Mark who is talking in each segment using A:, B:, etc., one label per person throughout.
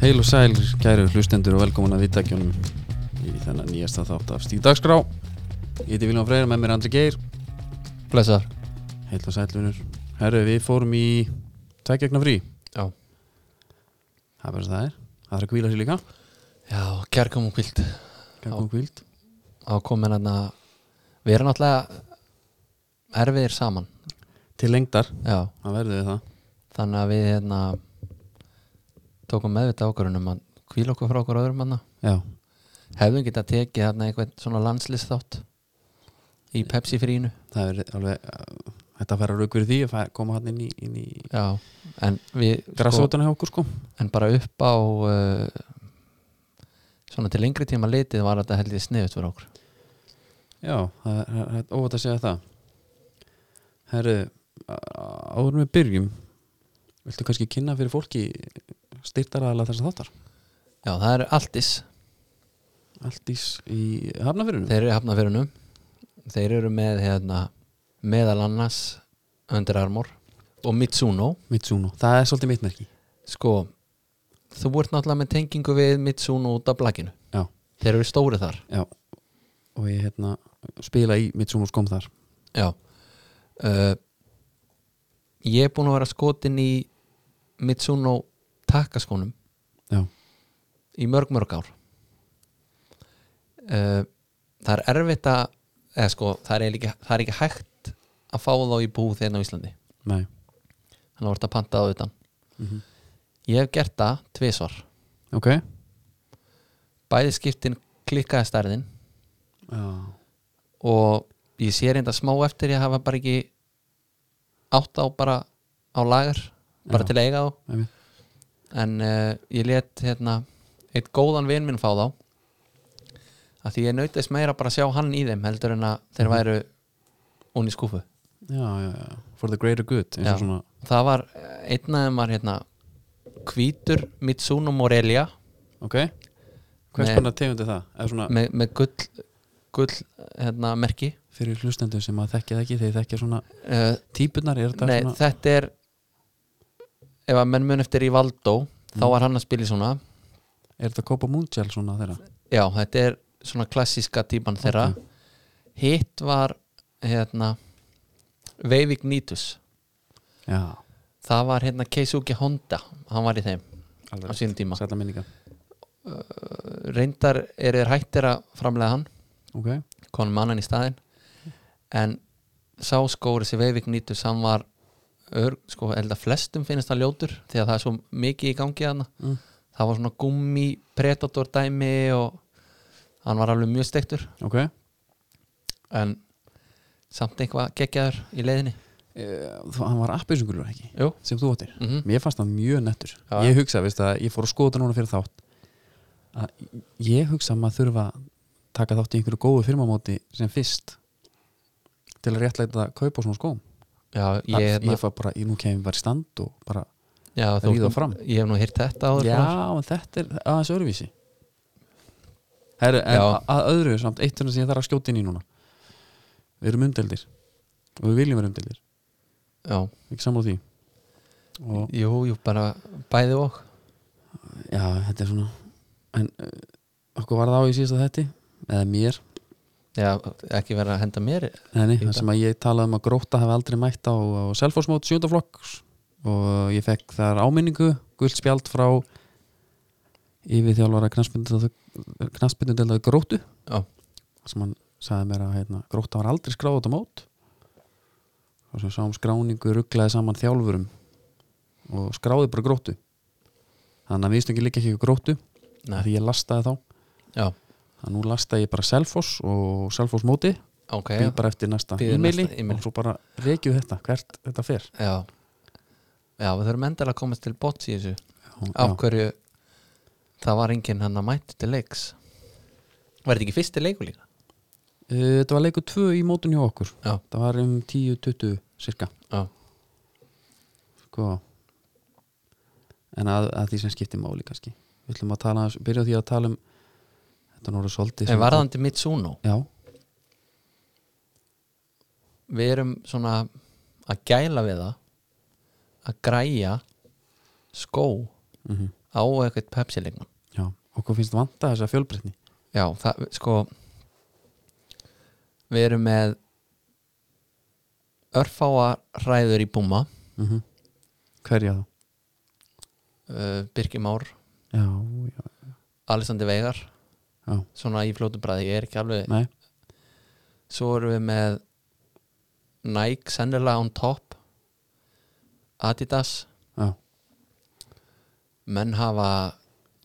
A: Heil og sæl, kæru hlustendur og velkomin að vittakjónum í þennan nýjasta þátt af Stíð Dagskrá Ég heiti Viljón Freyr, með mér Andri Geir
B: Blessaðar
A: Heil og sælunur Herru, við fórum í tækjagna frí
B: Já.
A: Það er bara sem það er Það þarf að kvíla sér líka
B: Já, kærkom og kvild
A: Gangum kvíld
B: Á komin hann að Við erum náttúrulega erfiðir saman
A: Til lengdar,
B: Já,
A: það verður við það
B: þannig að við hérna tókum meðvita ákvörunum að kvíla okkur frá okkur öðrum hann
A: Já,
B: Hefðum getað tekið hérna einhvern svona landslistþátt í Pepsi frínu
A: það er alveg uh, Þetta að fara rauk fyrir því að fara- koma hann inn í, inn í
B: Já, en við
A: grassótana hjá okkur sko
B: En bara upp á uh, svona til lengri tíma litið var þetta held ég sniðut fyrir okkur
A: Já, það er- það er óvægt að segja það Herru, á- áður en við byrjum Viltu kannski kynna fyrir fólki styrtaraðala þessa þáttar?
B: Já, það er Altis
A: Alltís í hafnafyrinu?
B: Þeir eru í hafnafyrunum Þeir eru með hérna, meðal annars Under Armour og Mitsuno
A: Mitsuno, það er svolítið mitt merki
B: Sko, þú ert náttúrulega með tengingu við Mitsuno út af blakinu
A: Já,
B: Þeir eru stóri þar
A: já Og ég hérna spila í Mitsuno skom þar
B: Já uh, Ég er búin að vera skotin í Mitsuno takkaskónum
A: Já,
B: í mörg mörg ár uh, Það er erfitt að eða sko, það er, eiginlega ekki, það er ekki hægt að fá þá í búð þeirna á Íslandi
A: nei
B: þannig að voru að panta það utan
A: Mhm.
B: ég hef gert það tvisvar
A: Ok
B: bæði skiptin klikkaði stærðin
A: Já,
B: og ég sé reynda smá eftir ég hafa bara ekki átt á bara á lagar bara
A: Já.
B: til að eiga þá
A: einmitt.
B: en uh, ég let hérna eitt góðan vin minn fá þá að því ég nautist meira bara að sjá hann í þeim heldur en að þeir væru unni skúfu
A: já, já, já For the greater good eins
B: Já.
A: og svona
B: það var eh, einn af þeim var hérna hvítur Mitsuno Morelia
A: Ok Hvers
B: Nei.
A: konar tegundi það? Eða svona
B: með, með gull, gull hérna, merki
A: fyrir hlustendur sem að þekkja það ekki þegar þekkja svona
B: uh,
A: típunar er þetta
B: Nei,
A: svona
B: þetta er ef að menn mun eftir í Valdó þá
A: Mm.
B: var hann að spila í svona
A: Er þetta Copa Mundial svona þeirra?
B: já, þetta er svona klassíska típan þeirra hitt var hérna Veivik Nítus
A: Já,
B: það var hérna Keisuke Honda hann var í þeim á sínum tíma
A: sætla minninga
B: reyndar er þeir hættir að framlega hann
A: Ok,
B: konum annan í staðinn en sá skóri sem Veivik nýtur hann var ör, sko, held að flestum finnist það ljótur því að það er svo mikið í gangi hann
A: Mm.
B: það var svona gummi predator dæmi og hann var alveg mjög stektur
A: ok
B: en samt eitthvað geggjaður í leiðinni
A: e, þú, Hann var appisungulur ekki
B: Jú.
A: sem þú áttir
B: mm
A: Mér fannst það mjög nettur
B: Já.
A: Ég hugsa, veist að ég fór að skoða þetta núna fyrir þátt að ég hugsa að maður þurfa að taka þátt í einhverju góðu firmamóti sem fyrst til að réttlæta að kaupa svona skóm
B: já, ég,
A: ég,
B: hérna,
A: ég fór bara, ég nú kemur bara í stand og bara,
B: já, þú,
A: ríða fram.
B: ég hef nú hýrt þetta áður
A: já,
B: Gunnar.
A: en þetta er aðeins öðruvísi Herru, en
B: Já.
A: að- að öðru samt, eitt hérna sem ég þarf að skjóta inn í núna Við erum umdeldir og við viljum vera umdeldir
B: já,
A: ekki sammála því og
B: jú, jú, bara bæði og
A: já, þetta er svona en uh, okkur var það á í síðasta þetti eða mér,
B: já, ekki vera að henda mér
A: henni,
B: Ég
A: það
B: veit
A: sem að ég talaði um að gróta hafi aldrei mætt á, á selfosmót sjöndaflokks og ég fekk þar áminningu gult spjald frá yfir þjálfara knaspindudeldaði grótu
B: Já.
A: sem hann sagði mér að hérna, gróta var aldrei skráð út á mót og sem sáum skráningu rugglaði saman þjálfurum og skráði bara grótu þannig að viðstöngin líka ekki hjá grótu Nei.
B: Nei,
A: því ég lastaði þá
B: já,
A: að nú lastaði ég bara Selfoss og Selfoss móti
B: ok
A: býð bara eftir næsta
B: Bíður
A: e-maili
B: næsta e-maili.
A: og svo bara reykju þetta hvert þetta fer
B: Já Já, við þurfum endilega að komast til bots í þessu Af
A: já,
B: hverju það var enginn hann að mæta til leiks Var þetta ekki fyrsti leiku líka?
A: Eh, þetta var leikur tvö í mótun hjá okkur
B: Já.
A: það var um 10-20 cirka
B: Já,
A: sko. en að, að því sem skiptir máli kannski við ætlum að tala, byrja á því að tala um þetta er orðið svolítið
B: en varðandi Mitsuno
A: já,
B: Við erum svona að gæla við það að græja skó
A: mm
B: á eitthvað Pepsi leikmann
A: já, okkur finnst vanta þessa fjölbreytni
B: Já, það, sko við erum með örfáa hræður í búma
A: mm hverja þá?
B: uh, Birgir Már,
A: já, já,
B: Alessandi Veigar
A: já,
B: svona í fljótu bræði, ég er ekki alveg
A: nei
B: svo erum við með Nike, sennilega on top Adidas
A: já,
B: menn hafa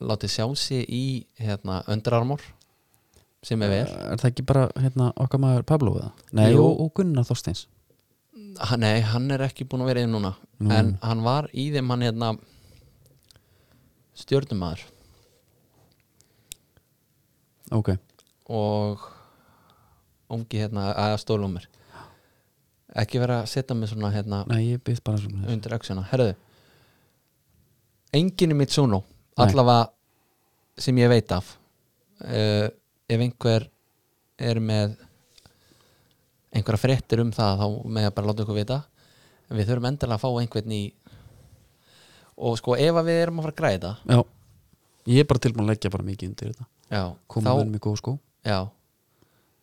B: látið sjá sig í hérna, öndrarmór sem er vel
A: er það ekki bara hérna, okkar maður Pablo eða? nei,
B: Jú.
A: og, og Gunnar Þorsteins
B: hann, nei, hann er ekki búin að vera í núna
A: Nú.
B: en hann var í þeim hann hérna stjörnumæður
A: ok,
B: og ungi hérna aða stólumir ekki vera að setja mig svona hérna
A: nei, ég byrð bara svona þess
B: undir öksuna, herðu enginn í mitt sónu allavega sem ég veit af uh, ef einhver er með einhverja fréttir um það þá með að bara láta ykkur vita En við þurfum endilega að fá einhvern í og sko ef að við erum að fara að græða
A: já, ég er bara tilbúin að leggja bara mikið undir þetta
B: já,
A: koma
B: þá
A: vel með góð skó
B: Já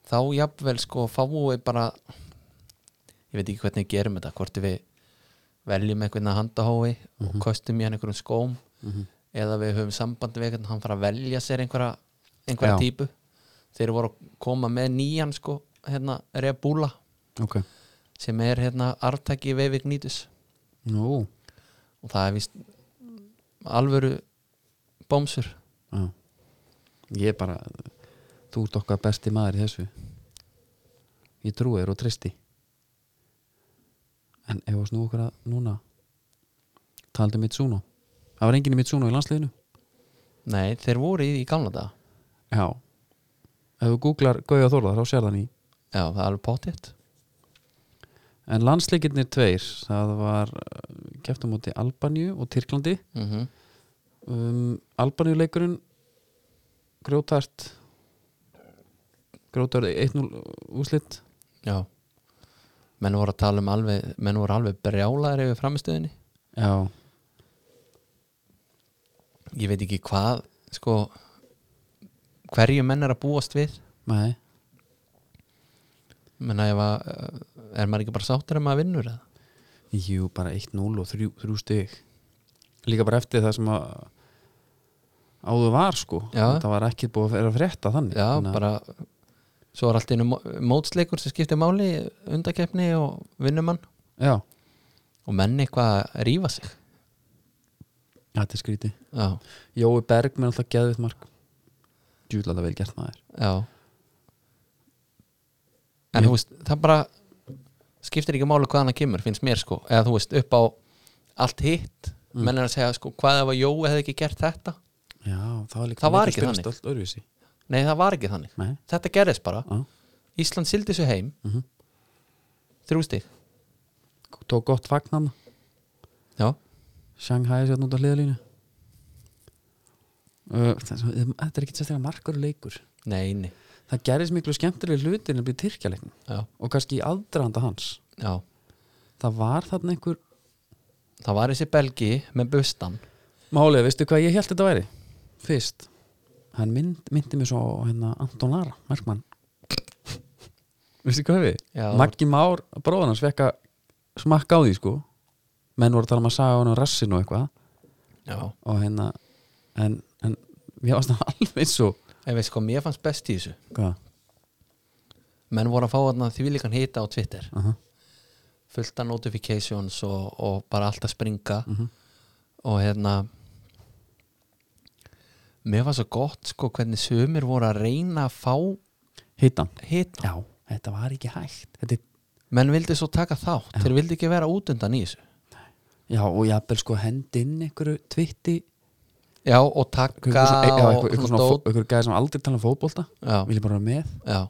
B: Þá jafnvel sko fáu bara ég veit ekki hvernig við gerum þetta hvort við veljum einhvern að handahói og kostum í hann einhverjum skóm
A: Mhm.
B: eða við höfum sambandi við einhvern hann fara að velja sér einhverja, einhverja
A: Já.
B: típu þeir voru að koma með nýjan sko hérna Rebula
A: ok,
B: sem er hérna arftaki Veivik Nýtus
A: nú,
B: og það er vist alvöru bómsur
A: já ég er bara, þú ert okkar besti maður í þessu ég trúi þér og tristi en ef að snú okkur að núna taldi Mitsuno það var enginn í Mitsuno í landsliðinu
B: Nei, þeir voru í, í gamla daga
A: já, ef þú googlar Gauja Þórðar þá sér þannig
B: Já, það er alveg pottitt
A: en landsleikinnir tveir það var keftum móti Albaníu og Tyrklandi
B: mm
A: um, Albaníuleikurinn grjótart grjótart 1-0 úslitt
B: Já menn voru að tala um alveg menn voru alveg brjálaðir yfir framistöðinni
A: já,
B: ég veit ekki hvað sko hverju menn er að búast við
A: nei,
B: menn að ef að uh, er maður ekki bara sáttur að maður vinnur það
A: jú bara 1-0 og 3, 3 stig líka bara eftir það sem að áður var sko
B: Já.
A: það var ekki búið að vera að frétta þannig
B: já
A: Þannig að-
B: bara svo er allt einu mó- mótsleikur sem skiptir máli undakeppni og vinnumann
A: já,
B: og menn eitthvað að rífa sig
A: þetta er skríti
B: já,
A: Jói Berg með alltaf geðvitt mark djúðlega vel gert maður
B: já en þú veist það bara skiptir ekki máli hvaðan það kemur finnst mér sko, eða þú veist upp á allt hitt, menn er að segja sko hvað ef að Jói hefði ekki gert þetta
A: já, það var, líka
B: Það var
A: mikið
B: ekki
A: spilast
B: þannig.
A: allt öðruvísi.
B: nei það var ekki þannig,
A: Nei,
B: þetta gerðist bara
A: já.
B: Ísland sildi þessu heim mm
A: Mhm.
B: þrjú stig
A: tók gott fagnan
B: já,
A: Shanghai sérna út á hliðalínu Uh, það- þetta er ekki sérstaklega margur leikur
B: nei, nei
A: það gerðist miklu skemmtilega hlutin að bli tyrkjaleiknum
B: já,
A: og kannski í aðdraðanda hans
B: já,
A: það var þarna einhver
B: það var þessi Belgi með bustan
A: málið, veistu hvað ég held þetta væri fyrst hann mynd, myndi mér svo á, hérna, Anton Lara, markmann veistu hvað við
B: Já.
A: Maggi Már, bróðan hans fekk að smakka á því sko menn voru að tala um að saga honum rassin og eitthvað
B: já,
A: og hérna en, en ég varst það alveg svo
B: en veist sko, mér fannst best í þessu
A: hvað
B: menn voru að fá þarna því líkan hita á Twitter
A: Aha.
B: fullt af notifications og, og bara allt að springa og hérna mér var svo gott sko hvernig sömur voru að reyna að fá
A: hittan
B: hita,
A: já, þetta var ekki hægt þetta, er-
B: menn vildi svo taka þátt þeir vildi ekki vera út undan í þessu
A: já, og jafnvel sko hendi inn einhverju tvitti
B: Já, og taka
A: einhverju svona- já,
B: og
A: einhverju- einhverju
B: svona
A: svona fó-
B: dót
A: einhverju gæði sem aldrei tala um fótbolta
B: já,
A: vil ég bara vera með,
B: já,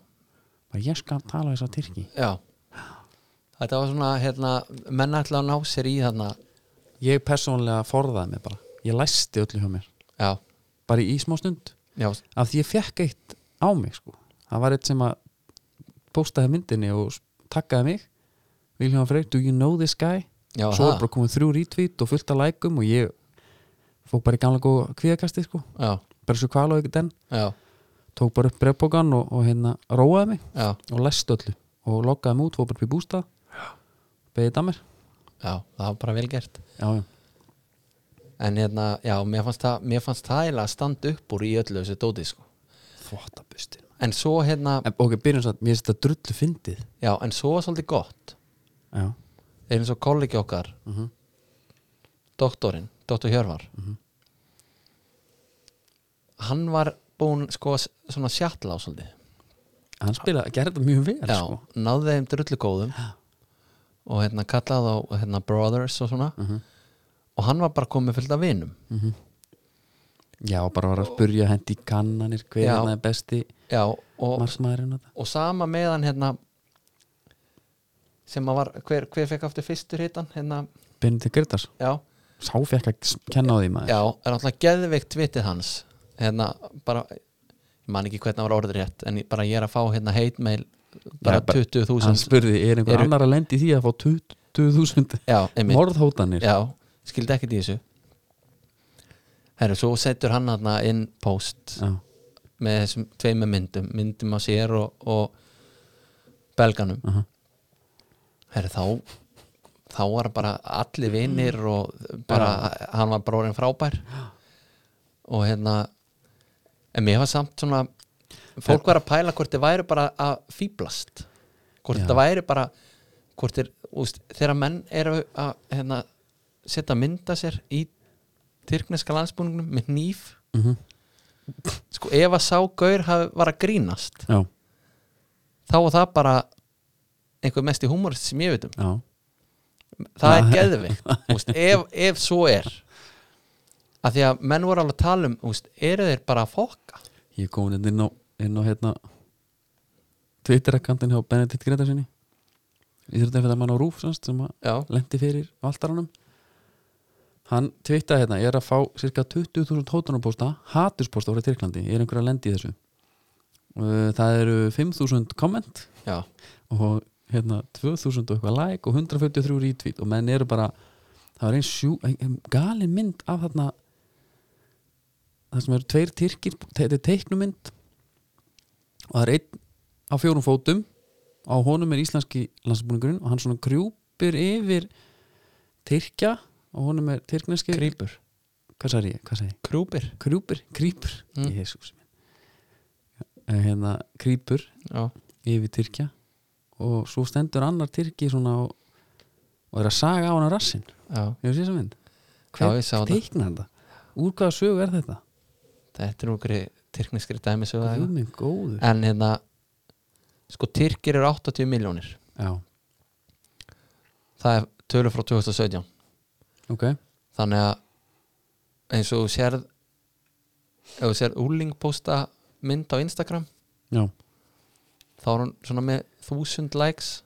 A: bara ég skal tala þess að Tyrki
B: já Þetta var svona, hérna, menn ætla að ná sér í þarna
A: ég persónlega forðaði mig bara ég læsti öllu hjá mér,
B: Já,
A: bara í smá stund
B: já,
A: af því ég fekk eitt á mig sko það var eitt sem að postaði myndinni og takkaði mig Vilhjóðan Freyr, do you know this guy?
B: já
A: svo er
B: ha,
A: bara komið þrjú retweet og fullt af lækum og ég fók bara í gamla góða kvíðakasti sko
B: já,
A: bara svo kvala og ekki den
B: já,
A: tók bara upp brefbókan og, og hérna róaði mig
B: já,
A: og lest öllu og loggaði mig út, fór bara upp í bústað beðið að mér
B: já það var bara vel gert
A: já, já,
B: en hérna, já, mér fannst það mér fannst það eiginlega að standa upp úr í öllu þessu dóti sko.
A: þvottabustin
B: en svo hérna,
A: ok, byrjum svo að mér finnst þetta drullu fyndið
B: já, en svo var svolítið gott
A: já,
B: er eins og kollegi okkar
A: uh
B: doktorinn, doktor Hjörvar hann var búinn sko s- svona sjatla á svolítið
A: hann spilaði, gerði þetta mjög vel
B: já,
A: sko
B: náði þeim drullugóðum og hérna kallaði á hérna, brothers og svona og hann var bara komið fullt af vinum
A: já, bara var að spurja hendi í kannanir hver
B: Já.
A: hérna er besti
B: já, og,
A: marsmaðurinn og það
B: og sama meðan hérna sem að var, hver, hver fekk aftur fyrstur hittan hérna,
A: Benedikt Gerdars,
B: já,
A: sá fekk að s- kenna á því maður
B: já er alltaf geðveikt vitið hans hérna, bara ég man ekki hvernig það var orður rétt en ég, bara ég er að fá hérna hate mail bara
A: Já, bara- hann
B: 20.000
A: spurði, er einhver
B: Eru-
A: annar að lendi því að fá 20.000
B: já, einmitt
A: morðhótanir
B: Já, skildi ekkert í þessu Herru, svo setur hann hann inn post
A: Já.
B: með þessum tveimur myndum myndum á sér og, og belganum
A: Aha.
B: Herru, þá þá var bara allir vinnir og bara, hann var bróðin frábær og hérna en mér var samt svona fólk var að pæla hvort þið væri bara að fýblast hvort
A: Já.
B: þetta væri bara hvort þeir, úst, þegar menn eru að hérna, setja mynda sér í tyrkneska landsbúningnum með nýf
A: Mhm.
B: sko ef að sá gaur hafi, var að grínast
A: já,
B: þá var það bara einhver mest í húmorist sem ég veit um
A: já,
B: það er geðvikt úst, ef, ef svo er að því að menn voru alveg að tala um úst, eru þeir bara að fokka
A: ég er komin hérna inn á, inn á hérna Twitter-akkantin hjá Benedikt Gretarsinni ég þurfti að fyrir að mann á Rúf semst, sem að
B: já,
A: lendi fyrir valdarunum hann twittaði hérna ég er að fá cirka 20.000 hótunarpósta haturspósta voru í Tyrklandi, ég er einhver að lendi í þessu Uh, það eru 5.000 komment
B: já,
A: og hérna 2000 og eitthvað like og 143 retweet og menn eru bara það var einn sjú, ein, ein galin mynd af þarna það sem eru tveir tyrkir þetta er teiknumynd og það er einn á fjórum fótum á honum er íslenski landsbúningurinn og hann svona krjúpir yfir tyrkja og honum er tyrkneski
B: krýpur
A: hvað sagði ég, hvað sagði ég
B: krúpir
A: krjúpir, krýpur
B: Mm.
A: mm. Jesus, hérna krýpur
B: já,
A: yfir Tyrkja og svo stendur annar Tyrki svona og, og er að saga á hana rassinn
B: já,
A: hefur séð sem mynd
B: Já, ég sá
A: hver
B: þetta.
A: teikna þetta? úr hvaða sögu er þetta?
B: þetta er okkur tyrkneskri dæmisöga
A: Guð minn góður
B: en hérna sko Tyrkir eru 80 miljónir
A: já,
B: það er tölur frá 2017
A: ok
B: þannig að eins og þú sérð ef þú sérð úling posta mynd á Instagram
A: já,
B: þá er hún svona með 1000 likes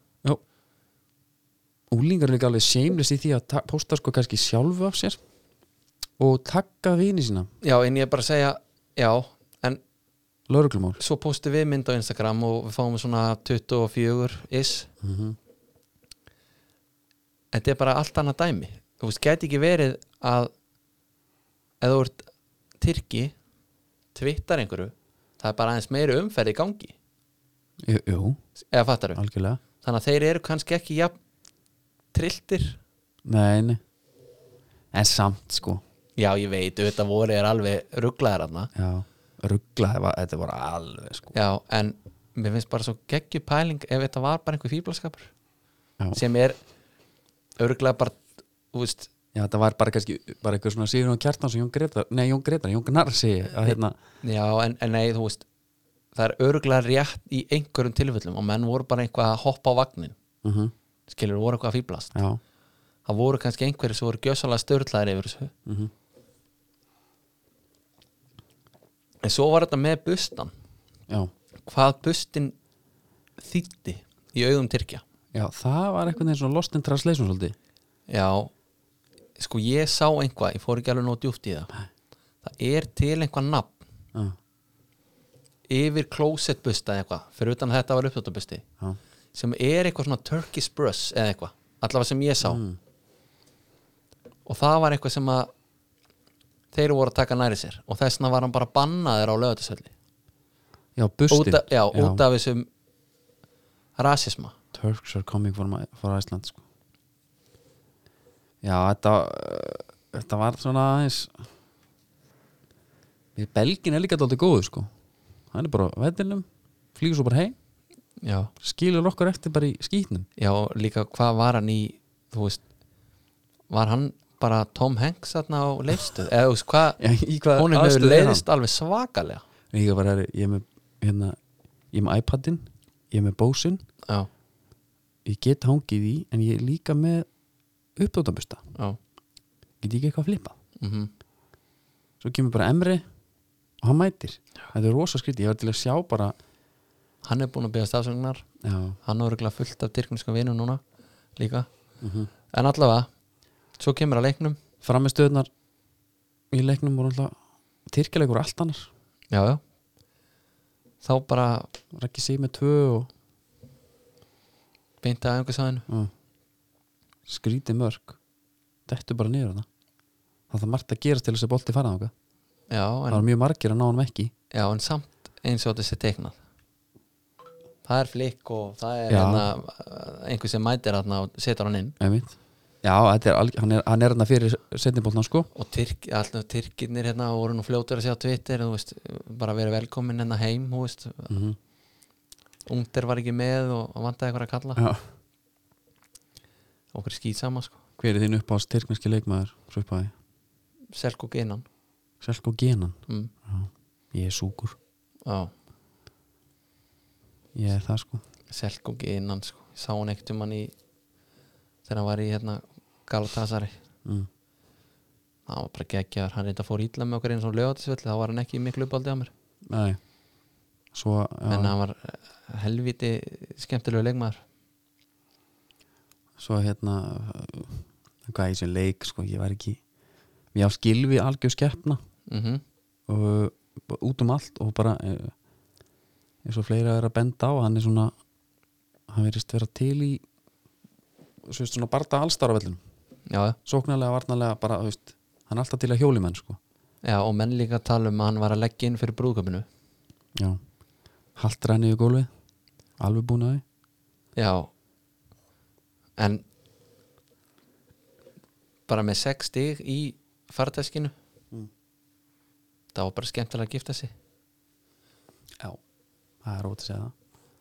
A: úlingar er líka alveg seimlis í því að ta- posta sko kannski sjálfu af sér og takka vini sína
B: já en ég er bara að segja já en
A: lauruglumál
B: svo postum við mynd á Instagram og við fáum svona 24 is
A: mm
B: þetta er bara allt annað dæmi þú veist, gæti ekki verið að ef þú ert tyrki tvittar einhverju það er bara aðeins meiri umferð í gangi
A: jú, jú,
B: eða fattar við,
A: algjörlega
B: þannig að þeir eru kannski ekki jafn trilltir
A: nei, nei en samt sko
B: já ég veit, auðvitað voru er alveg rugglaðar aðna
A: já, ruggla, þetta var- þetta var alveg sko
B: já, en mér finnst bara svo geggju pæling ef þetta var bara einhver fýblaskapur
A: Já.
B: sem er örglega bara, þú veist
A: Já, þetta var bara kannski bara eitthvað svona Sigurjón Kjartans og Jón Gretar Nei, Jón Gretar, Jón Gnar segi að hérna
B: Já, en, en nei, þú veist það er örgulega rétt í einhverjum tilfellum og menn voru bara eitthvað að hoppa á vagnin
A: uh
B: skilur, voru eitthvað að fýblast
A: Já,
B: það voru kannski einhverjir sem voru gjössalega störlaðir yfir þessu
A: Mhm.
B: en svo var þetta með bustan
A: já,
B: hvað bustin þýtti í augum Tyrkja
A: já, það var eitthvað neins svona lost in translation svolítið
B: Já, sko ég sá einhvað ég fór ekki alveg nóg djúpt í það það er til einhvað nafn
A: Já,
B: yfir closetbusta eða eitthvað fyrir utan að þetta var upptötabusti
A: já,
B: sem er eitthvað svona Turkish brush eða eitthvað,
A: Mm.
B: Mm. allavega sem ég sá og það var eitthvað sem að þeir voru að taka næri sér og þessna var hann bara bannaður á lögatisöldi
A: já, bustin
B: út, af- já, út af þessum rasisma
A: Turks are coming from, from Iceland sko. já, þetta uh, þetta var svona aðeins Ég- Belgin er líka dálítið góðu sko hann er bara á vellinum flýgur svo bara heim,
B: já.
A: skilur okkur eftir bara í skýtnum
B: já, líka hvað var hann í þú veist var hann bara Tom Hanks þarna á leifstuð eða þú veist hvað,
A: í hvað
B: honum hefur
A: aðstöðu er hann?
B: leiðist alveg svakalega
A: ég er bara, herri, ég er með hérna, ég er með iPadin, ég er með bósin
B: já,
A: ég get hangið í, en ég er líka með uppdóttabusta,
B: já,
A: get ég ekki eitthvað að flippa
B: mhm
A: svo kemur bara Emri og hann mætir, þetta er rosa skrítið ég var til að sjá bara
B: hann er búin að byggja stafsögnar
A: já,
B: hann er örgulega fullt af tyrkniskum vinum núna líka,
A: mm
B: en allavega svo kemur að leiknum
A: framistöðnar í leiknum voru alltaf tyrkilegur allt annar,
B: já, já. þá bara
A: Raggi sig með tvö og
B: beinti að einhversaðinu
A: uh, skrítið mörg þetta bara niður þarna það þarf margt að gerast til þess að bolti fara þangað
B: já,
A: það
B: en,
A: var mjög margir að ná hann ekki
B: já, en samt eins og þessi teiknað það er flikk og það er
A: Já.
B: hérna, einhver sem mætir hann og setur hann inn
A: Einmitt. Já, þetta er, alg- hann er hann er hérna fyrir setniboltan sko
B: og tyrk, alltaf tyrkirnir hérna voru nú fljótur að sjá Twitter þú veist, bara verið velkomin hérna heim þú veist,
A: mm -hmm.
B: ungdir var ekki með og og vantaði eitthvað að kalla okkur skýt sama sko,
A: Hver er þín uppáðs tyrkneski leikmaður svo uppáði?
B: selg og innan
A: Selko Genan
B: mm.
A: Ég er súkur
B: Já,
A: Ég er það sko
B: Selkogi innan sko Ég sá hann ekkert um hann í þegar hann var í hérna Galatasari
A: mm.
B: hann var bara geggjaður, hann reynda fór ítla með okkur eins og lögatisvöld, þá var hann ekki í miklu uppaldi á mér
A: Nei Svo
B: en
A: já,
B: hann var eh, helviti skemmtilegu leikmaður
A: Svo hérna uh, Hvað er þessi leik sko Ég var ekki Ég á skilvi algjör skeppna
B: mm
A: og bara út um allt og bara eh, eins og fleira er að benda á hann er svona hann verðist vera til í svo veist, svona barða allstarfellin
B: já,
A: sóknarlega, varnarlega, bara þú veist, hann er alltaf til að hjóli menn sko
B: já, og menn líka tala um að hann var að leggja inn fyrir brúðköpinu
A: Já. haltra henni í gólfið alveg búin að
B: já en bara með sex stig í farteskinu Mm. það var bara skemmtilega að gifta sig
A: því Já, það er ótt að segja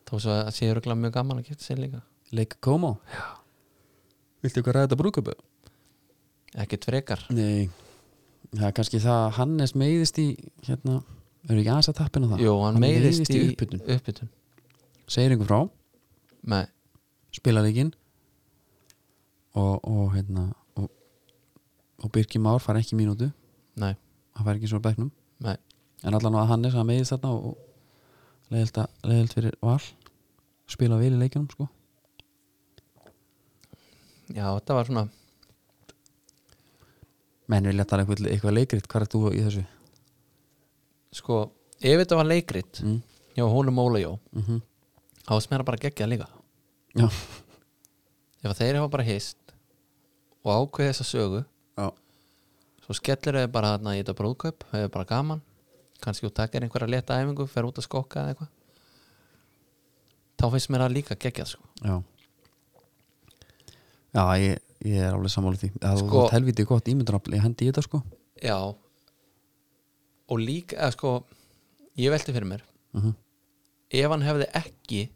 A: það
B: þó svo að séu röglega mjög gaman að gifta sig líka
A: Leik Komo Já. Viltu eitthvað ræða þetta brúðköpu?
B: ekkert frekar
A: Nei, það er kannski það að Hannes meiðist í hérna, eru ekki aðeins að tappina það?
B: Jú, hann meiðist í
A: uppbytun
B: uppbytun
A: segir einhver frá
B: Nei,
A: spila leikinn og, og hérna og, og Birki Már fær ekki mínútu
B: nei,
A: hann fær ekki svo bæknum
B: nei
A: en allan á að Hannes, hann meðist þarna og, og leiðilt, að, leiðilt fyrir val spila vel í leikinum sko
B: Já, þetta var svona
A: menn vilja tala eitthvað, eitthvað leikrit, hvað er þú í þessu?
B: Sko, ef þetta var leikrit
A: Mm.
B: Já, húnum Óla Jó
A: Mm -hmm.
B: Þá var smera bara geggjað líka
A: Já,
B: Ef að þeir hafa bara hist Og ákveði þessa sögu
A: já,
B: Svo skellir þau bara þarna í þetta brúðkaup Þau er bara gaman kannski þú takkir einhverja leta æfingu Fer út að skokka eða eitthvað Þá finnst mér það líka geggjað sko
A: já Já, ég, ég er alveg sammála því það
B: Sko-
A: sko, var helviti gott ímyndunafl ég hendi í þetta sko
B: Já Og líka, eða sko Ég velti fyrir mér
A: mm -hmm.
B: ef hann hefði ekki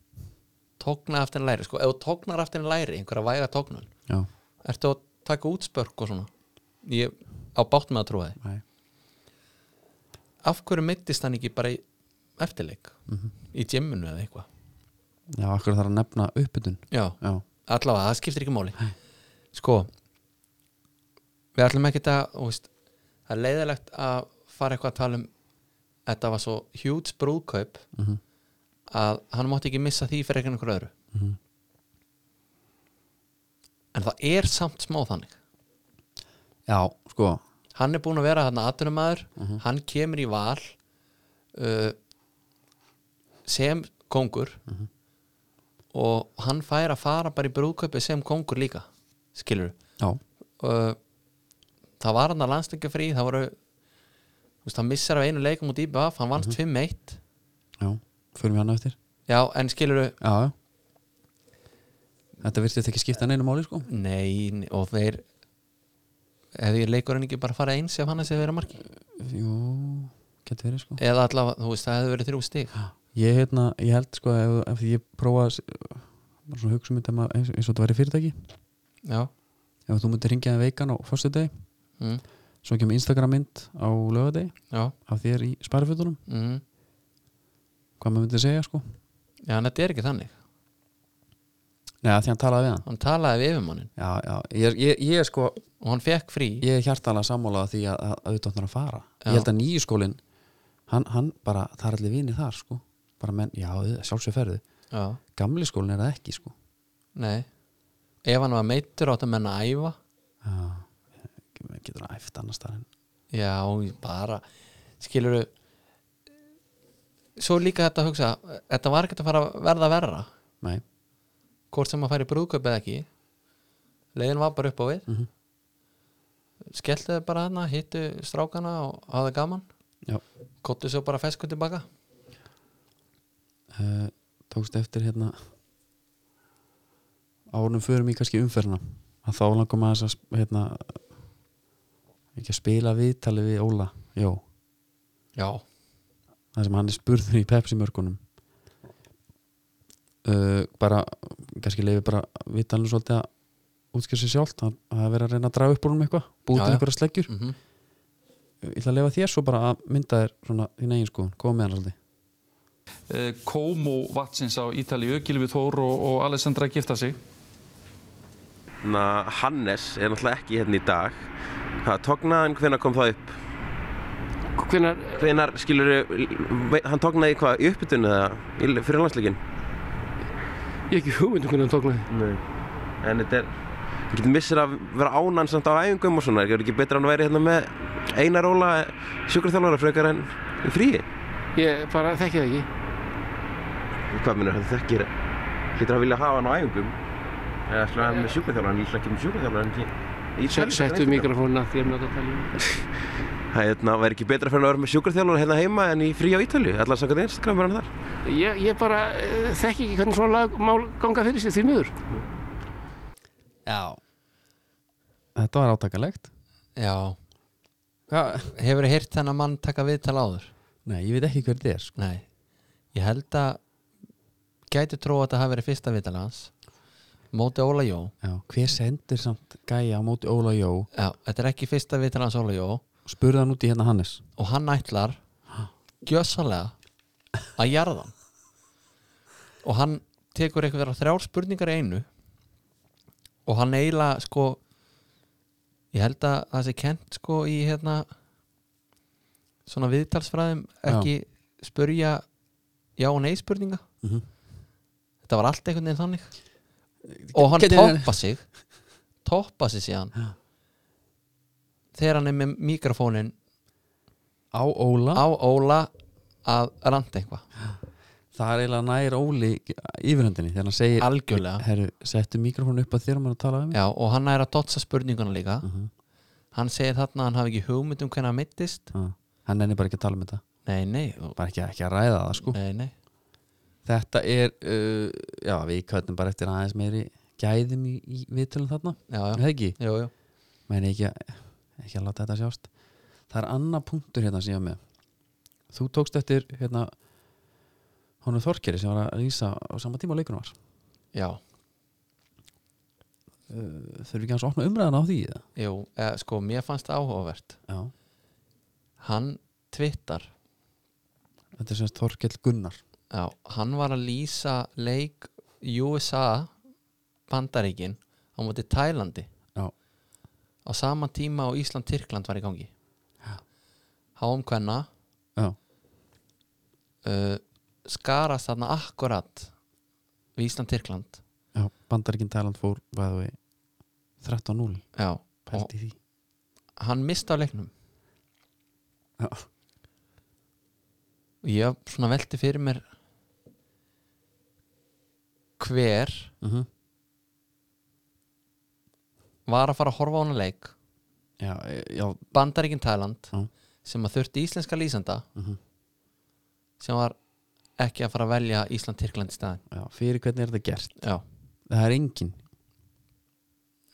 B: tóknað aftur en læri sko, ef þú tóknar aftur en læri einhverja væga tóknun,
A: Já,
B: ertu að taka útspörk og svona ég á bátt með að trúa þið
A: Nei.
B: af hverju meittist hann ekki bara í eftirleik í djemminu eða eitthvað
A: já akkur þarf að nefna uppbytun
B: já,
A: Já,
B: allavega, það skiptir ekki máli sko við ætlum ekki að þú veist, það er leiðilegt að fara eitthvað að tala um þetta var svo huge brúðkaup
A: mm -hmm.
B: að hann mátti ekki missa því fyrir einhvern öðru
A: Mhm.
B: en það er samt smá þannig
A: já sko
B: hann er búin að vera þarna atunumæður hann kemur í val uh, sem kongur og hann fær að fara bara í brúðkaupi sem kongur líka skilur
A: Já,
B: uh, það var hann að landsleika frí það voru þú veist, hann missar af einu leikum út í BF hann vannst 5-1
A: já, förum við hann eftir
B: já, en skilur
A: já, já þetta virtist ekki skipta neinu máli sko
B: nei, nei, og þeir hefði leikurinn ekki bara farið eins ef hann hefði verið að marki
A: jú, getur verið sko
B: eða allavega, þú veist, það hefði verið þrjú stig
A: ég, hérna, ég held sko ef, ef ég prófa að s- bara svona hugsa um þetta ma- eins, eins og þetta væri fyrirtæki
B: já,
A: ef þú myndir ringja það veikan á föstudegi
B: mm,
A: svo kemur Instagram mynd á lögadegi
B: já
A: af þér í spærifötunum
B: mm,
A: hvað maður myndi segja sko
B: já, en þetta er ekki þannig
A: neða því hann talaði við hann
B: hann talaði við yfirmannin
A: já, já, ég, ég, ég er sko
B: og hann fekk frí
A: ég er hjartalega sammálaða því að auðvitað hann er að fara
B: Já.
A: ég held að nýju skólin hann, hann bara, það er allir vinir þar sko bara menn, já, sjálfsög ferðu
B: já,
A: gamli skólin er það ekki sko
B: nei ef hann var meittur átt að menna að æfa
A: já, maður getur hann æft annars þar en
B: Já, bara skilur svo líka þetta að hugsa þetta var ekkert að fara að verða verra
A: nei,
B: hvort sem að fara í brúðkaup eða ekki leiðin var bara upp á við
A: Mhm.
B: skelltu þau bara hana, hittu strákana og hafðu gaman
A: já
B: kottu svo bara fesku tilbaka
A: uh, tókst eftir hérna árunum förum í kannski umferðina að þá langum að þess að hérna ekki að spila viðtali við Óla já,
B: Já,
A: það sem hann er spurður í Pepsi mörgunum uh, bara kannski leifi bara viðtalinu svolítið að útskjör sér sjálft hann það er verið að reyna að draga upp úr um eitthvað búið
B: Já,
A: til
B: já.
A: einhverja sleggjur
B: mhm,
A: ég ætla að leifa þér svo bara að mynda þér svona þín eigin skoðun, koma með hann svolítið
C: Eh, Kómó vatsins á Ítalíu, Gilvi Þór og, og Alessandra gifta sig.
D: Na, Hérna, Hannes er náttúrulega ekki hérna í dag Hvað, tognaðan, hvenær kom það upp?
C: Hvenar,
D: Hvenær, skilur, hann tognaði hvað, í uppbytunni eða í- fyrir landsleikin?
C: ég hef ekki hugmynd um hvernig hann tóknaði.
D: Nei En þetta er, hann getur missir að vera ánan samt á æfingum og svona Er ekki betra að hann væri hérna með Einar Óla sjúkraþjálfara frekar en í fríi?
C: Ég bara þekki það ekki.
D: Hvað minnur, hann þekkir, getur að vilja hafa hann á æfingum? Eða ætlaði hann með sjúkraþjálfara, hann ætlaði ekki með sjúkraþjálfara, hann ekki í
C: Se-
D: tölvu-
C: Settu mikrofónuna því ég er með að tala í.
D: Það hérna, væri ekki betra fyrir hann að vera með sjúkraþjálfara hérna heima en í frí á Ítalju, allar samkvæmt um Instagram er hann þar.
C: Ég, ég bara eh, þekki ekki hvernig svona lag, mál ganga fyrir sig því miður.
A: Já Þetta var átakalegt
B: já
A: Hva?
B: Hefur þið heyrt þennan mann taka viðtal áður?
A: Nei, ég veit ekki hver þetta er sko.
B: Nei, ég held að gæti trú að þetta hafi verið fyrsta viðtal hans móti Óla Jó
A: Já, hver sendir samt gæja á móti Óla Jó og
B: Já, þetta er ekki fyrsta viðtal hans Óla Jó
A: spurði hann út í hérna Hannes
B: og hann ætlar gjössalega að jarða hann og hann tekur eitthvað þrjár spurningar í einu og hann eiginlega sko ég held að það sé kent sko í hérna svona viðtalsfræðum ekki spurja já og nei spurninga
A: Mhm.
B: þetta var allt einhvern veginn þannig og hann
A: Gæti-
B: toppa sig toppa sig síðan þegar hann er með mikrofónin
A: Á Óla
B: á Óla að randa eitthvað
A: Það er eiginlega nær Óli yfirhöndinni þegar hann segir
B: algjörlega
A: Herru, settu mikrofónu upp að þér og maður að tala um mig
B: Já, og hann er að dotsa spurninguna líka hann segir þarna að hann hafi ekki hugmynd um hvernig hann mittist
A: Já. Ah, Hann nenni bara ekki að tala um þetta
B: nei, nei, og-
A: Bara ekki, ekki að ræða það sko
B: nei, nei
A: Þetta er, uh, já við kvöldum bara eftir aðeins meiri gæðum í, í viðtölum þarna
B: já,
A: Er
B: já,
A: Það ekki,
B: jú, jú.
A: meni ekki að, ekki að láta þetta sjást Það er annað punktur hérna sem ég var með Þú tókst eftir hérna honum Þorkeri sem var að lýsa á sama tíma og leikunum var
B: já,
A: Þurfum við ekki hans að opna umræðan á því eða?
B: jú eða, sko, mér fannst það áhugavert
A: Já,
B: hann twittar
A: þetta er semst Þorkell Gunnar
B: já, hann var að lýsa leik USA bandaríkin á móti Tælandi
A: Já,
B: á sama tíma og Ísland-Tyrkland var í gangi háum hvenna
A: já,
B: uh, skarast þarna akkurat við Ísland-Tyrkland
A: já Bandaríkin Tæland fór bæðu við 13-0
B: já, og
A: pælt í því
B: hann misti á leiknum
A: Já,
B: og ég svona velti fyrir mér hver
A: mm
B: var að fara að horfa á hana leik
A: já, e- já
B: Bandaríkin Tæland
A: Já. Mhm.
B: sem að þurfti íslenska lýsanda sem var ekki að fara að velja Ísland-Tyrkland í staðin
A: Já, fyrir hvernig er þetta gert
B: já,
A: það er engin,